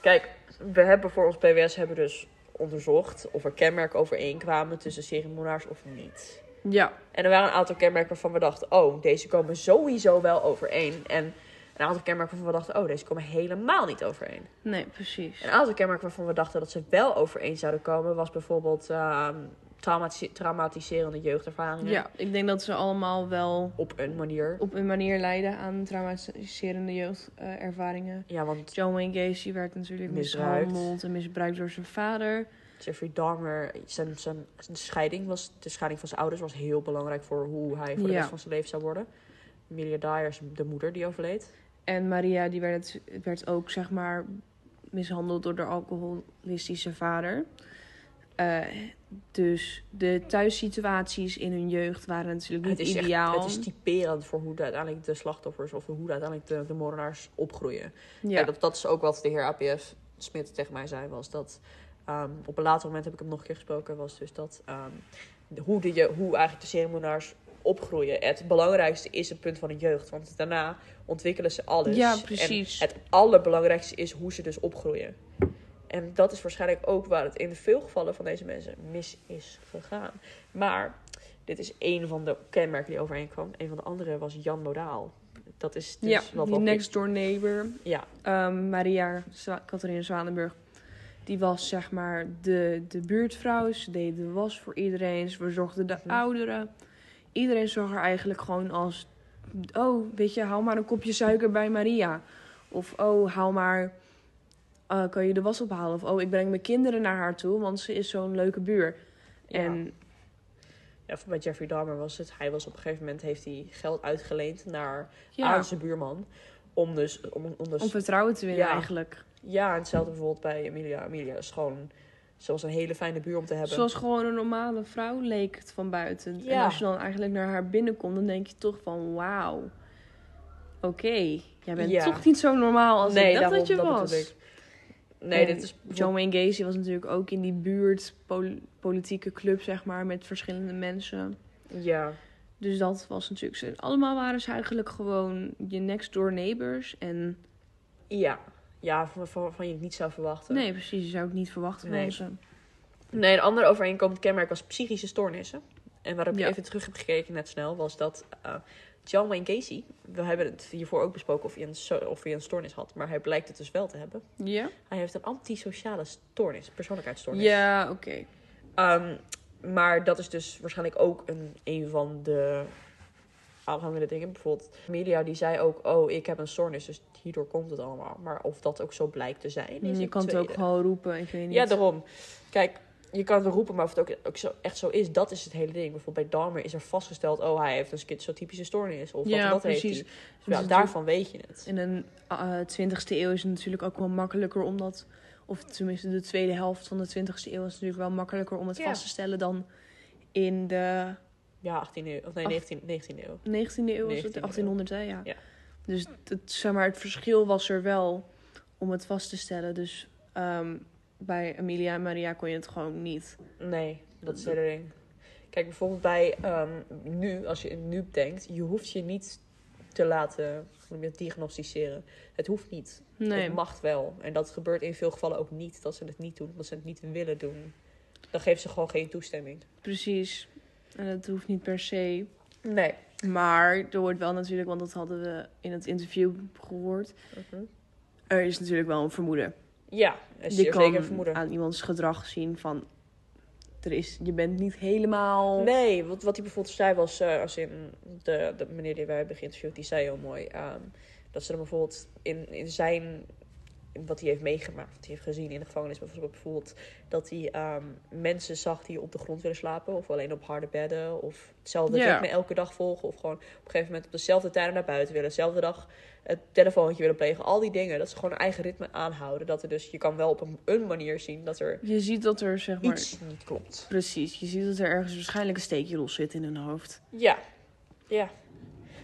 Speaker 2: Kijk, we hebben voor ons PWS hebben we dus onderzocht of er kenmerken overeenkwamen tussen seriemoordenaars of niet.
Speaker 1: ja.
Speaker 2: En er waren een aantal kenmerken waarvan we dachten, oh, deze komen sowieso wel overeen. En een aantal kenmerken waarvan we dachten, oh, deze komen helemaal niet overeen.
Speaker 1: Nee, precies.
Speaker 2: Een aantal kenmerken waarvan we dachten dat ze wel overeen zouden komen, was bijvoorbeeld ehm, traumatise- traumatiserende jeugdervaringen.
Speaker 1: Ja, ik denk dat ze allemaal wel
Speaker 2: Op een manier.
Speaker 1: op een manier leiden aan traumatiserende jeugdervaringen.
Speaker 2: Ja, want
Speaker 1: John Wayne Gacy werd natuurlijk
Speaker 2: Misbruikt.
Speaker 1: mishandeld en misbruikt door zijn vader.
Speaker 2: Jeffrey Dahmer, zijn, zijn, zijn scheiding was, de scheiding van zijn ouders was heel belangrijk voor hoe hij voor de
Speaker 1: Ja.
Speaker 2: rest van zijn leven zou worden. Amelia Dyers, de moeder die overleed.
Speaker 1: En Maria die werd, werd ook zeg maar mishandeld door de alcoholistische vader. Eh, dus de thuissituaties in hun jeugd waren natuurlijk niet
Speaker 2: Het is, echt-
Speaker 1: ideaal.
Speaker 2: het is typerend voor hoe de, uiteindelijk de slachtoffers of hoe de uiteindelijk de, de moordenaars opgroeien.
Speaker 1: ja.
Speaker 2: Kijk, dat, dat is ook wat de heer APS Smit tegen mij zei. Was dat ehm, op een later moment heb ik hem nog een keer gesproken. Was dus dat ehm, de- hoe, de, je- hoe eigenlijk de seriemoordenaars opgroeien. Het belangrijkste is het punt van de jeugd. Want daarna ontwikkelen ze alles.
Speaker 1: Ja,
Speaker 2: En
Speaker 1: precies.
Speaker 2: het allerbelangrijkste is hoe ze dus opgroeien. En dat is waarschijnlijk ook waar het in veel gevallen van deze mensen mis is gegaan. Maar dit is één van de kenmerken die overeenkwam. Een van de andere was Jan Modaal. Dat is dus
Speaker 1: ja,
Speaker 2: wat
Speaker 1: die
Speaker 2: wat-
Speaker 1: next door neighbor.
Speaker 2: Ja,
Speaker 1: Ehm, Maria Zwa- Catharina Zwanenburg. Die was zeg maar de, de buurtvrouw. Ze deed de was voor iedereen. Ze verzorgde de
Speaker 2: Mhm.
Speaker 1: ouderen. Iedereen zag haar eigenlijk gewoon als... Oh, weet je, haal maar een kopje suiker bij Maria. Of oh, haal maar... eh, kan je de was ophalen? Of oh, ik breng mijn kinderen naar haar toe, want ze is zo'n leuke buur.
Speaker 2: Ja.
Speaker 1: En
Speaker 2: ja, bij Jeffrey Dahmer was het. Hij was op een gegeven moment, heeft hij geld uitgeleend naar
Speaker 1: Ja,
Speaker 2: aan zijn buurman. Om dus, om, om dus
Speaker 1: om vertrouwen te winnen
Speaker 2: Ja.
Speaker 1: eigenlijk.
Speaker 2: ja, en hetzelfde bijvoorbeeld bij Emilia. Emilia is gewoon, ze was een hele fijne buur om te hebben.
Speaker 1: Zoals gewoon een normale vrouw leek het van buiten. En
Speaker 2: Ja.
Speaker 1: als je dan eigenlijk naar haar binnenkomt, dan denk je toch van wauw. Oké, jij bent
Speaker 2: Ja.
Speaker 1: toch niet zo normaal als ik dacht
Speaker 2: daarom,
Speaker 1: dat je
Speaker 2: bedoel
Speaker 1: was.
Speaker 2: ik.
Speaker 1: En
Speaker 2: Nee, dit is
Speaker 1: John Wayne Gacy was natuurlijk ook in die buurt, pol- politieke club zeg maar, met verschillende mensen.
Speaker 2: Ja,
Speaker 1: Dus dat was natuurlijk... ze- Allemaal waren ze eigenlijk gewoon je next door neighbors. En
Speaker 2: ja. Ja, van, van, waarvan je het niet zou verwachten.
Speaker 1: nee, precies, je zou het niet verwachten
Speaker 2: Nee.
Speaker 1: van ze.
Speaker 2: Nee, een ander overeenkomend kenmerk was psychische stoornissen. En waar ik
Speaker 1: Ja.
Speaker 2: even terug heb gekeken net snel, was dat eh John Wayne Casey... We hebben het hiervoor ook besproken of hij, een, so- of hij een stoornis had. Maar hij blijkt het dus wel te hebben.
Speaker 1: Ja?
Speaker 2: Hij heeft een antisociale stoornis, persoonlijkheidsstoornis.
Speaker 1: Ja, oké.
Speaker 2: Ehm, maar dat is dus waarschijnlijk ook een, een van de aanhangende dingen. Bijvoorbeeld, Media die zei ook: Oh, ik heb een stoornis, dus hierdoor komt het allemaal. Maar of dat ook zo blijkt te zijn. Is
Speaker 1: Mm, Je kan het
Speaker 2: tweede.
Speaker 1: ook gewoon roepen, ik weet niet.
Speaker 2: Ja, daarom. Kijk, je kan het roepen, maar of het ook, ook zo, echt zo is, dat is het hele ding. Bijvoorbeeld bij Dahmer is er vastgesteld: Oh, hij heeft een schizotypische stoornis. Of
Speaker 1: Ja,
Speaker 2: dat, dat
Speaker 1: precies.
Speaker 2: heeft hij. Dus ja,
Speaker 1: Dus
Speaker 2: daarvan weet je het.
Speaker 1: In een eh, twintigste eeuw is het natuurlijk ook wel makkelijker om dat... Of tenminste, de tweede helft van de 20e eeuw is natuurlijk wel makkelijker om het
Speaker 2: Ja.
Speaker 1: vast te stellen dan in de
Speaker 2: Ja, 18e eeuw. Of nee, 19, 19e eeuw.
Speaker 1: 19e eeuw was
Speaker 2: 19e
Speaker 1: het,
Speaker 2: eeuw.
Speaker 1: 1800 hè, ja.
Speaker 2: Ja.
Speaker 1: Dus het, zeg maar, het verschil was er wel om het vast te stellen. Dus ehm, bij Amelia en Maria kon je het gewoon niet.
Speaker 2: Nee, dat is het hele ding. Kijk, bijvoorbeeld bij ehm, nu, als je nu denkt, je hoeft je niet te laten hoe noem je het, diagnosticeren. Het hoeft niet.
Speaker 1: Nee,
Speaker 2: Het mag wel. En dat gebeurt in veel gevallen ook niet, dat ze het niet doen, omdat ze het niet willen doen. Dan geeft ze gewoon geen toestemming.
Speaker 1: precies. En dat hoeft niet per se.
Speaker 2: Nee.
Speaker 1: Maar er wordt wel natuurlijk, want dat hadden we in het interview gehoord. Er is natuurlijk wel een vermoeden.
Speaker 2: Ja, dat is
Speaker 1: je
Speaker 2: zeer zeker
Speaker 1: kan
Speaker 2: vermoeden.
Speaker 1: aan iemands gedrag zien van... Er is, je bent niet helemaal...
Speaker 2: Nee, wat, wat hij bijvoorbeeld zei was, eh, als in de, de meneer die wij hebben geïnterviewd, die zei heel mooi ehm, dat ze dan bijvoorbeeld in, in zijn, in wat hij heeft meegemaakt, wat hij heeft gezien in de gevangenis, bijvoorbeeld, bijvoorbeeld dat hij ehm, mensen zag die op de grond willen slapen, of alleen op harde bedden, of hetzelfde
Speaker 1: Ja.
Speaker 2: ritme elke dag volgen, of gewoon op een gegeven moment op dezelfde tijden naar buiten willen, dezelfde dag het telefoontje willen plegen, al die dingen, dat ze gewoon hun eigen ritme aanhouden, dat er dus, je kan wel op een, een manier zien dat er
Speaker 1: Je ziet dat er, zeg maar...
Speaker 2: iets niet klopt.
Speaker 1: Precies, je ziet dat er ergens waarschijnlijk een steekje los zit in hun hoofd.
Speaker 2: Ja, ja.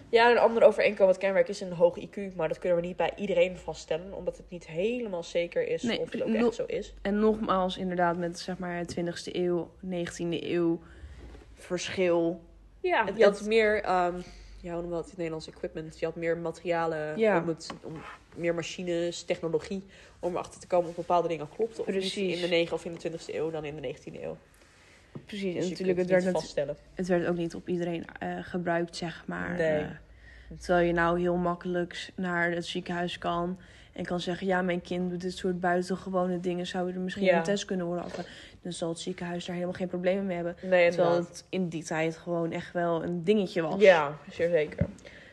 Speaker 2: Ja, een ander overeenkomend kenmerk is een hoog IQ, maar dat kunnen we niet bij iedereen vaststellen, omdat het niet helemaal zeker is
Speaker 1: Nee,
Speaker 2: of het ook
Speaker 1: nul-
Speaker 2: echt zo is.
Speaker 1: En nogmaals, inderdaad, met zeg maar 20e eeuw, 19e eeuw verschil.
Speaker 2: Ja, je
Speaker 1: dat-
Speaker 2: had meer, ehm ja, hoe noemen we dat in het Nederlands equipment? Je had meer materialen,
Speaker 1: Ja.
Speaker 2: om het, om, meer machines, technologie, om erachter te komen of bepaalde dingen klopten of niet
Speaker 1: Precies.
Speaker 2: in de 9 of in de 20e eeuw dan in de 19e eeuw.
Speaker 1: Precies, en
Speaker 2: Dus je
Speaker 1: natuurlijk, het werd,
Speaker 2: kunt het
Speaker 1: natu-
Speaker 2: niet vaststellen.
Speaker 1: het werd ook niet op iedereen eh, gebruikt, zeg maar.
Speaker 2: Nee.
Speaker 1: Eh, terwijl je nou heel makkelijk s- naar het ziekenhuis kan en kan zeggen... ja, mijn kind doet dit soort buitengewone dingen, zou er misschien
Speaker 2: Ja.
Speaker 1: een test kunnen worden afge... Dan zal het ziekenhuis daar helemaal geen problemen mee hebben.
Speaker 2: Nee,
Speaker 1: Terwijl
Speaker 2: inderdaad.
Speaker 1: het in die tijd gewoon echt wel een dingetje was.
Speaker 2: Ja, zeer zeker.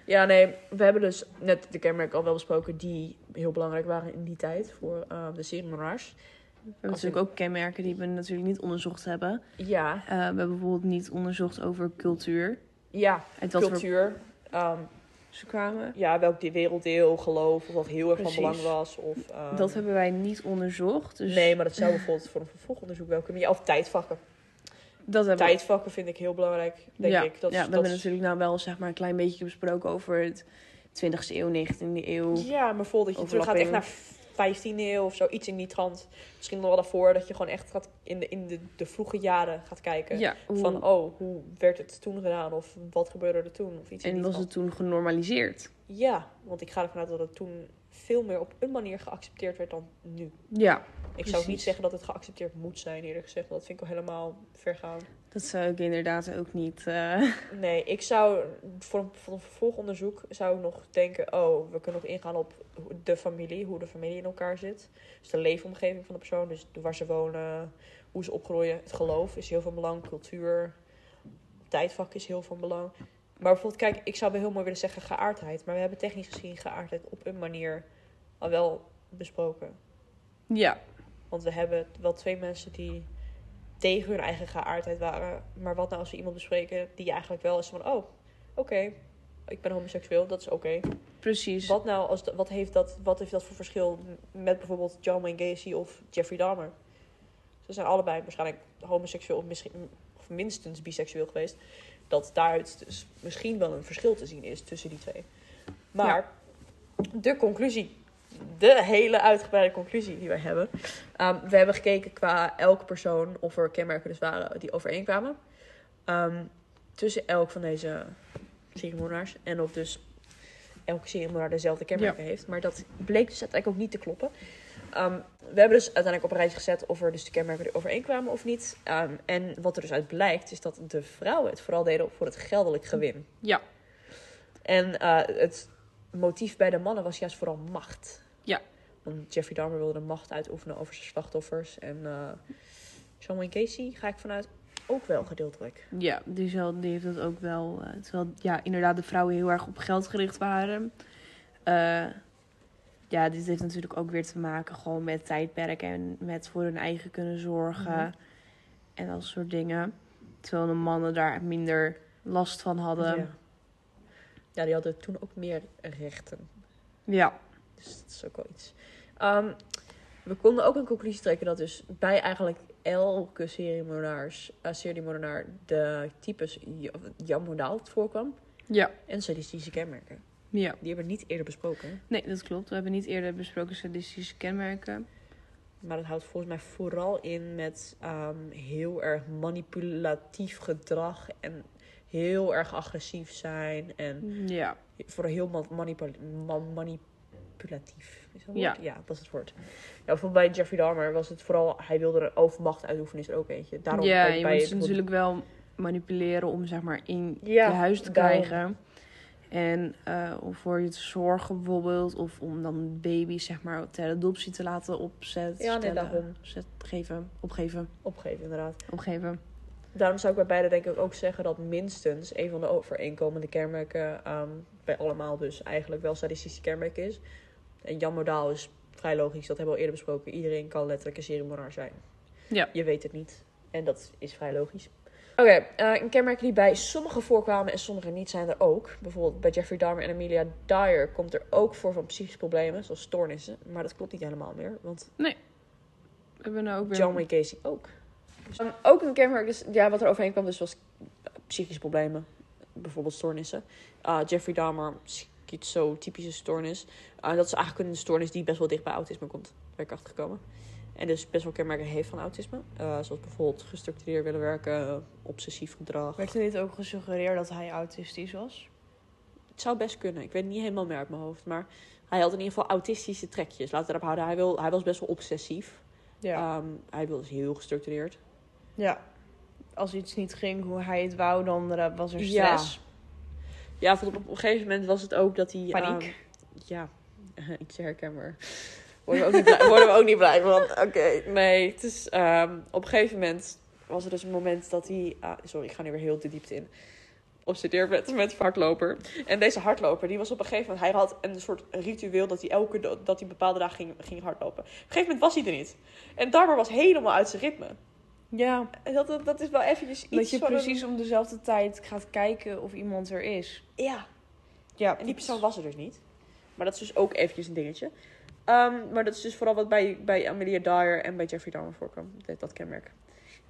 Speaker 2: Ja, nee, we hebben dus net de kenmerken al wel besproken die heel belangrijk waren in die tijd voor eh, de ceremoniaars.
Speaker 1: We hebben
Speaker 2: Als in-
Speaker 1: natuurlijk ook kenmerken die we natuurlijk niet onderzocht hebben.
Speaker 2: Ja,
Speaker 1: Eh, we hebben bijvoorbeeld niet onderzocht over cultuur.
Speaker 2: ja,
Speaker 1: Uit wat voor
Speaker 2: cultuur. ehm,
Speaker 1: ze kwamen.
Speaker 2: ja, welk die werelddeel, geloof, of wat heel erg
Speaker 1: Precies.
Speaker 2: van belang was. Of, ehm,
Speaker 1: Dat hebben wij niet onderzocht. Dus
Speaker 2: Nee, maar dat zou bijvoorbeeld voor een vervolgonderzoek wel kunnen. Ja, of tijdvakken.
Speaker 1: dat hebben we-
Speaker 2: Tijdvakken vind ik heel belangrijk, denk
Speaker 1: ja,
Speaker 2: ik. Dat,
Speaker 1: ja,
Speaker 2: is-
Speaker 1: we
Speaker 2: dat
Speaker 1: hebben
Speaker 2: is-
Speaker 1: natuurlijk nou wel zeg maar, een klein beetje besproken over het 20e eeuw, 19e eeuw.
Speaker 2: Ja, maar bijvoorbeeld dat je terug gaat echt naar
Speaker 1: Overlapping.
Speaker 2: 15e eeuw of zo, iets in die trant. Misschien nog wel daarvoor, dat je gewoon echt gaat in de, in de, de vroege jaren gaat kijken.
Speaker 1: Ja, hoe-
Speaker 2: Van, oh, hoe werd het toen gedaan? Of wat gebeurde er toen? Of iets in
Speaker 1: en
Speaker 2: die
Speaker 1: was het
Speaker 2: trant.
Speaker 1: toen genormaliseerd?
Speaker 2: Ja, want ik ga ervan uit dat het toen veel meer op een manier geaccepteerd werd dan nu.
Speaker 1: Ja,
Speaker 2: Ik zou ook niet
Speaker 1: Precies.
Speaker 2: zeggen dat het geaccepteerd moet zijn, eerlijk gezegd. want Dat vind ik al helemaal vergaan.
Speaker 1: dat zou ik inderdaad ook niet. eh,
Speaker 2: Nee, ik zou voor een, voor een vervolgonderzoek zou ik nog denken... oh, we kunnen nog ingaan op hoe- de familie, hoe de familie in elkaar zit. Dus de leefomgeving van de persoon, dus waar ze wonen, hoe ze opgroeien. Het geloof is heel van belang, cultuur, tijdvak is heel van belang. Maar bijvoorbeeld, kijk, ik zou wel heel mooi willen zeggen geaardheid... maar we hebben technisch gezien geaardheid op een manier al wel besproken.
Speaker 1: ja,
Speaker 2: Want we hebben wel twee mensen die tegen hun eigen geaardheid waren. Maar wat nou als we iemand bespreken die eigenlijk wel is van... Oh, oké, ik ben homoseksueel, dat is oké.
Speaker 1: Precies.
Speaker 2: Wat nou, als, dat- wat, heeft dat, wat heeft dat voor verschil met bijvoorbeeld John Wayne Gacy of Jeffrey Dahmer? Ze zijn allebei waarschijnlijk homoseksueel of misschien of minstens biseksueel geweest. Dat daaruit dus misschien wel een verschil te zien is tussen die twee. Maar de conclusie, de hele uitgebreide conclusie die wij hebben. Ehm, we hebben gekeken qua elke persoon of er kenmerken dus waren die overeenkwamen. Ehm, tussen elk van deze seriemoordenaars. En of dus elke seriemoordenaar dezelfde kenmerken heeft. Maar dat bleek dus uiteindelijk ook niet te kloppen. Ehm, we hebben dus uiteindelijk op een rijtje gezet of er dus de kenmerken die overeenkwamen of niet. Ehm, en wat er dus uit blijkt is dat de vrouwen het vooral deden voor het geldelijk gewin.
Speaker 1: Ja.
Speaker 2: En eh, het motief bij de mannen was juist vooral macht.
Speaker 1: Ja.
Speaker 2: Want Jeffrey Dahmer wilde de macht uitoefenen over zijn slachtoffers. En eh John Wayne Casey ga ik vanuit ook wel gedeeltelijk.
Speaker 1: Ja, die, zal, die heeft dat ook wel. eh, terwijl ja, inderdaad de vrouwen heel erg op geld gericht waren. Eh, ja, dit heeft natuurlijk ook weer te maken gewoon met tijdperk en met voor hun eigen kunnen zorgen.
Speaker 2: Mhm.
Speaker 1: En dat soort dingen. Terwijl de mannen daar minder last van hadden.
Speaker 2: Dus Ja. ja, die hadden toen ook meer rechten.
Speaker 1: Ja.
Speaker 2: Dus dat is ook wel iets. Ehm, we konden ook een conclusie trekken dat dus bij eigenlijk elke seriemoordenaars, eh seriemoordenaar de types ja- jamodaal voorkwam.
Speaker 1: Ja.
Speaker 2: En sadistische kenmerken.
Speaker 1: ja.
Speaker 2: Die hebben we niet eerder besproken. hè?
Speaker 1: Nee, dat klopt. We hebben niet eerder besproken sadistische kenmerken.
Speaker 2: Maar dat houdt volgens mij vooral in met ehm, heel erg manipulatief gedrag. En heel erg agressief zijn. En
Speaker 1: Ja.
Speaker 2: vooral heel ma- manipul- ma- manipulatief. Is dat het
Speaker 1: Ja.
Speaker 2: woord? ja, dat is het woord. Ja, bijvoorbeeld bij Jeffrey Dahmer was het vooral... Hij wilde er overmacht uitoefenen, is er ook eentje. Daarom
Speaker 1: ja,
Speaker 2: ook
Speaker 1: je
Speaker 2: bij
Speaker 1: moet ze natuurlijk wel manipuleren om zeg maar in
Speaker 2: Ja,
Speaker 1: je huis te
Speaker 2: daarom.
Speaker 1: krijgen. En eh, om voor je te zorgen bijvoorbeeld. Of om dan baby's zeg maar ter adoptie te laten opzetten.
Speaker 2: Ja, nee,
Speaker 1: stellen,
Speaker 2: daarom.
Speaker 1: Zet, geven, opgeven,
Speaker 2: Opgeven, inderdaad.
Speaker 1: opgeven.
Speaker 2: Daarom zou ik bij beide denk ik ook zeggen dat minstens... een van de overeenkomende kenmerken... ehm, bij allemaal dus eigenlijk wel sadistische kenmerk is. En Jan Modaal is vrij logisch. Dat hebben we al eerder besproken. Iedereen kan letterlijk een seriemoordenaar zijn.
Speaker 1: Ja.
Speaker 2: Je weet het niet. En dat is vrij logisch. Oké, eh, en kenmerken die bij sommigen voorkwamen en sommige niet zijn er ook. Bijvoorbeeld bij Jeffrey Dahmer en Amelia Dyer komt er ook voor van psychische problemen, zoals stoornissen. Maar dat klopt niet helemaal meer, want
Speaker 1: We hebben nou ook weer...
Speaker 2: John Wayne Casey ook. Dus, dan ook een kenmerk, dus, ja, wat er overheen kwam, dus was psychische problemen. Bijvoorbeeld stoornissen. Eh, Jeffrey Dahmer, schizotypische stoornis. Eh, dat is eigenlijk een stoornis die best wel dicht bij autisme komt. Daar ben ik achter gekomen. En dus best wel kenmerken heeft van autisme. Eh, zoals bijvoorbeeld gestructureerd willen werken, obsessief gedrag.
Speaker 3: Werd er niet ook gesuggereerd dat hij autistisch was?
Speaker 2: Het zou best kunnen. Ik weet het niet helemaal meer uit mijn hoofd. Maar hij had in ieder geval autistische trekjes. Laten we daarop houden. Hij, wil, hij was best wel obsessief.
Speaker 3: Ja.
Speaker 2: Ehm, hij was heel gestructureerd.
Speaker 3: ja. Als iets niet ging hoe hij het wou, dan eh, was er
Speaker 2: Ja.
Speaker 3: stress.
Speaker 2: Ja, want op op een gegeven moment was het ook dat hij...
Speaker 3: Paniek.
Speaker 2: ehm, ja, iets herkenbaar. Worden we ook niet blij, worden we ook niet blij van. Oké, nee. Het is, ehm, op een gegeven moment was er dus een moment dat hij... ah, sorry, ik ga nu weer heel de diepte in. Obsedeerd werd met hardloper. En deze hardloper, die was op een gegeven moment... Hij had een soort ritueel dat hij elke do- dat hij bepaalde dagen ging, ging hardlopen. Op een gegeven moment was hij er niet. En Darmer was helemaal uit zijn ritme.
Speaker 3: Ja.
Speaker 2: En dat, dat, dat is wel eventjes iets
Speaker 3: Dat je
Speaker 2: van een-
Speaker 3: precies om dezelfde tijd gaat kijken of iemand er is.
Speaker 2: Ja,
Speaker 3: Ja.
Speaker 2: En die persoon was er dus niet. Maar dat is dus ook eventjes een dingetje. Ehm, maar dat is dus vooral wat bij, bij Amelia Dyer en bij Jeffrey Dahmer voorkwam. Dat, dat kenmerk.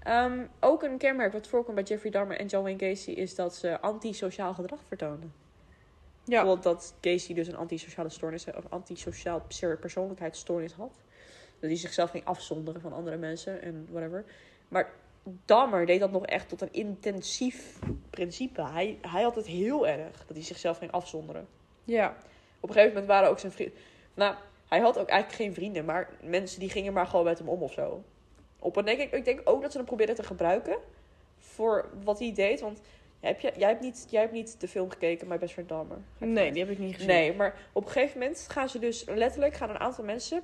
Speaker 2: Ehm, ook een kenmerk wat voorkwam bij Jeffrey Dahmer en John Wayne Casey... is dat ze antisociaal gedrag vertoonden.
Speaker 3: Ja.
Speaker 2: Bijvoorbeeld dat Casey dus een antisociale stoornis... of antisociaal pse- persoonlijkheidsstoornis had. Dat hij zichzelf ging afzonderen van andere mensen en whatever. Maar Dahmer deed dat nog echt tot een intensief principe. Hij, hij had het heel erg dat hij zichzelf ging afzonderen.
Speaker 3: Ja.
Speaker 2: Op een gegeven moment waren ook zijn vrienden. Nou, hij had ook eigenlijk geen vrienden, maar mensen die gingen maar gewoon met hem om of zo. Op een denk ik, ik denk ook dat ze hem probeerden te gebruiken voor wat hij deed. Want heb je, jij, hebt niet, jij hebt niet de film gekeken, My Best Friend Dahmer. Ga ik
Speaker 3: Nee,
Speaker 2: vanuit.
Speaker 3: die heb ik niet gezien.
Speaker 2: Nee, maar op een gegeven moment gaan ze dus letterlijk gaan een aantal mensen,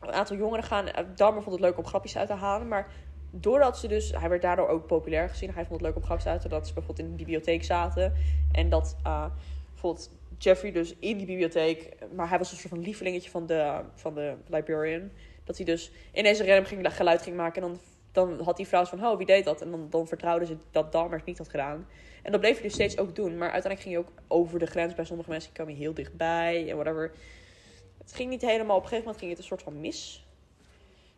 Speaker 2: een aantal jongeren gaan. eh, Dahmer vond het leuk om grapjes uit te halen, maar doordat ze dus, hij werd daardoor ook populair gezien. Hij vond het leuk om grapjes uit te halen, dat ze bijvoorbeeld in de bibliotheek zaten en dat eh, bijvoorbeeld Jeffrey dus in die bibliotheek, maar hij was een soort van lievelingetje van de, van de librarian, dat hij dus ineens een random ging, geluid ging maken en dan dan had die vrouw zo van, oh, wie deed dat? En dan, dan vertrouwden ze dat Dalmers niet had gedaan. En dat bleef hij dus steeds ook doen. Maar uiteindelijk ging hij ook over de grens bij sommige mensen. Ik kwam hier heel dichtbij en whatever. Het ging niet helemaal. Op een gegeven moment ging het een soort van mis.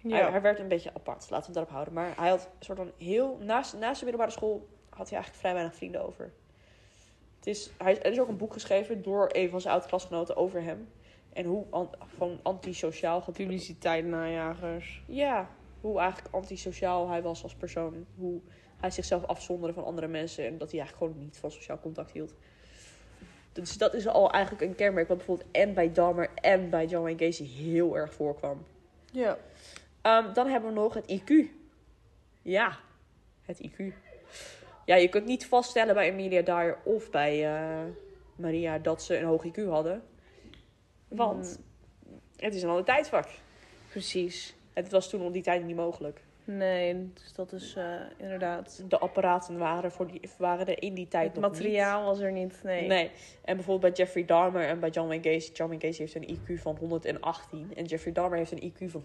Speaker 2: Hij, hij werd een beetje apart, laten we het daarop houden. Maar hij had een soort van heel... Naast, naast de middelbare school had hij eigenlijk vrij weinig vrienden over. Het is, hij, er is ook een boek geschreven door een van zijn oud-klasgenoten over hem. En hoe an, van antisociaal... ge-
Speaker 3: Publiciteit najagers.
Speaker 2: ja, hoe eigenlijk antisociaal hij was als persoon. Hoe hij zichzelf afzonderde van andere mensen. En dat hij eigenlijk gewoon niet van sociaal contact hield. Dus dat is al eigenlijk een kenmerk wat bijvoorbeeld en bij Dahmer en bij John Wayne Gacy heel erg voorkwam.
Speaker 3: Ja.
Speaker 2: Ehm, dan hebben we nog het IQ. Ja, het IQ. Ja, je kunt niet vaststellen bij Emilia Dyer of bij eh, Maria dat ze een hoog IQ hadden. Want het is een ander tijdvak.
Speaker 3: Precies.
Speaker 2: Het was toen op die tijd niet mogelijk.
Speaker 3: Nee, dus dat is eh, inderdaad.
Speaker 2: De apparaten waren, voor die, waren er in die tijd
Speaker 3: Het
Speaker 2: nog niet.
Speaker 3: materiaal was er niet. Nee.
Speaker 2: Nee. En bijvoorbeeld bij Jeffrey Dahmer en bij John Wayne Gacy. John Wayne Gacy heeft een IQ van 118 en Jeffrey Dahmer heeft een IQ van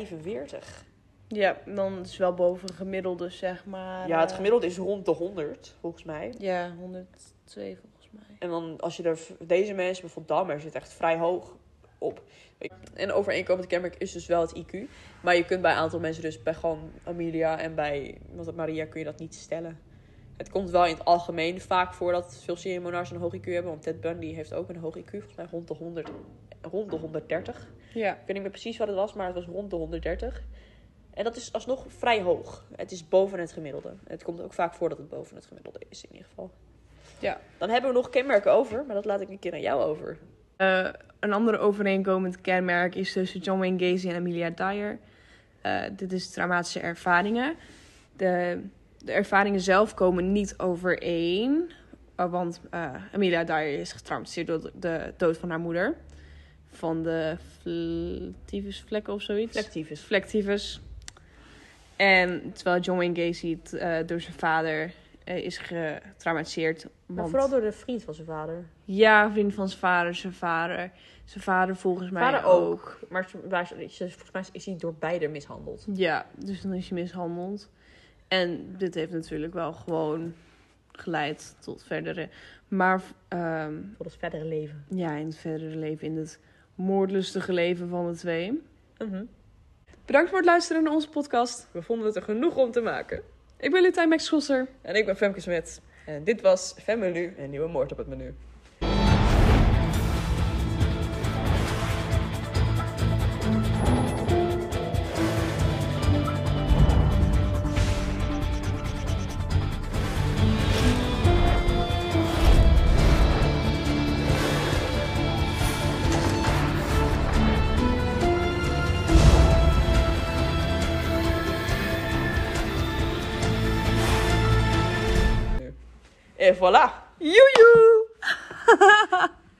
Speaker 2: 145.
Speaker 3: Ja, dan is het wel boven het gemiddelde, zeg
Speaker 1: Ah,
Speaker 3: maar.
Speaker 2: Ja, het
Speaker 3: eh,
Speaker 2: gemiddelde is rond de 100, volgens mij.
Speaker 3: Ja, 102 volgens mij.
Speaker 2: En dan als je er deze mensen, bijvoorbeeld Dahmer, zit echt vrij hoog op. En overeenkomend kenmerk is dus wel het IQ. Maar je kunt bij een aantal mensen, dus bij gewoon Amelia en bij want Maria, kun je dat niet stellen. Het komt wel in het algemeen vaak voor dat veel seriemonaars een hoog IQ hebben. Want Ted Bundy heeft ook een hoog IQ, volgens mij rond de, 100, rond de 130. Ik
Speaker 3: Ja.
Speaker 2: weet niet meer precies wat het was, maar het was rond de 130. En dat is alsnog vrij hoog. Het is boven het gemiddelde. Het komt ook vaak voor dat het boven het gemiddelde is, in ieder geval.
Speaker 3: Ja.
Speaker 2: Dan hebben we nog kenmerken over, maar dat laat ik een keer aan jou over.
Speaker 1: Eh, een ander overeenkomend kenmerk is tussen John Wayne Gacy en Amelia Dyer. Eh, dit is traumatische ervaringen. De, de ervaringen zelf komen niet overeen, eh, want eh, Amelia Dyer is getraumatiseerd door de, de dood van haar moeder. Van de fl- tyfusvlekken of zoiets.
Speaker 2: Selectief is.
Speaker 1: Flectivus. En terwijl John Wayne Gacy t- eh, door zijn vader eh, is getraumatiseerd.
Speaker 2: Maar
Speaker 1: Want...
Speaker 2: vooral door de vriend van zijn vader.
Speaker 1: Ja, vriend van zijn vader, zijn vader. Zijn vader volgens mij
Speaker 2: Vader
Speaker 1: ook.
Speaker 2: ook. Maar ze- waar ze- ze- volgens mij is hij door beide mishandeld.
Speaker 1: Ja, dus dan is hij mishandeld. En dit heeft natuurlijk wel gewoon geleid tot verdere... Maar ehm,
Speaker 2: Voor het verdere leven.
Speaker 1: ja, in het verdere leven, in het moordlustige leven van de twee.
Speaker 2: Mhm.
Speaker 1: Bedankt voor het luisteren naar onze podcast.
Speaker 2: We vonden het er genoeg om te maken.
Speaker 1: Ik ben Lutijn Max Schosser.
Speaker 2: En ik ben Femke Smet. En dit was Femmenu, een nieuwe moord op het menu. Et voilà! Joejoe!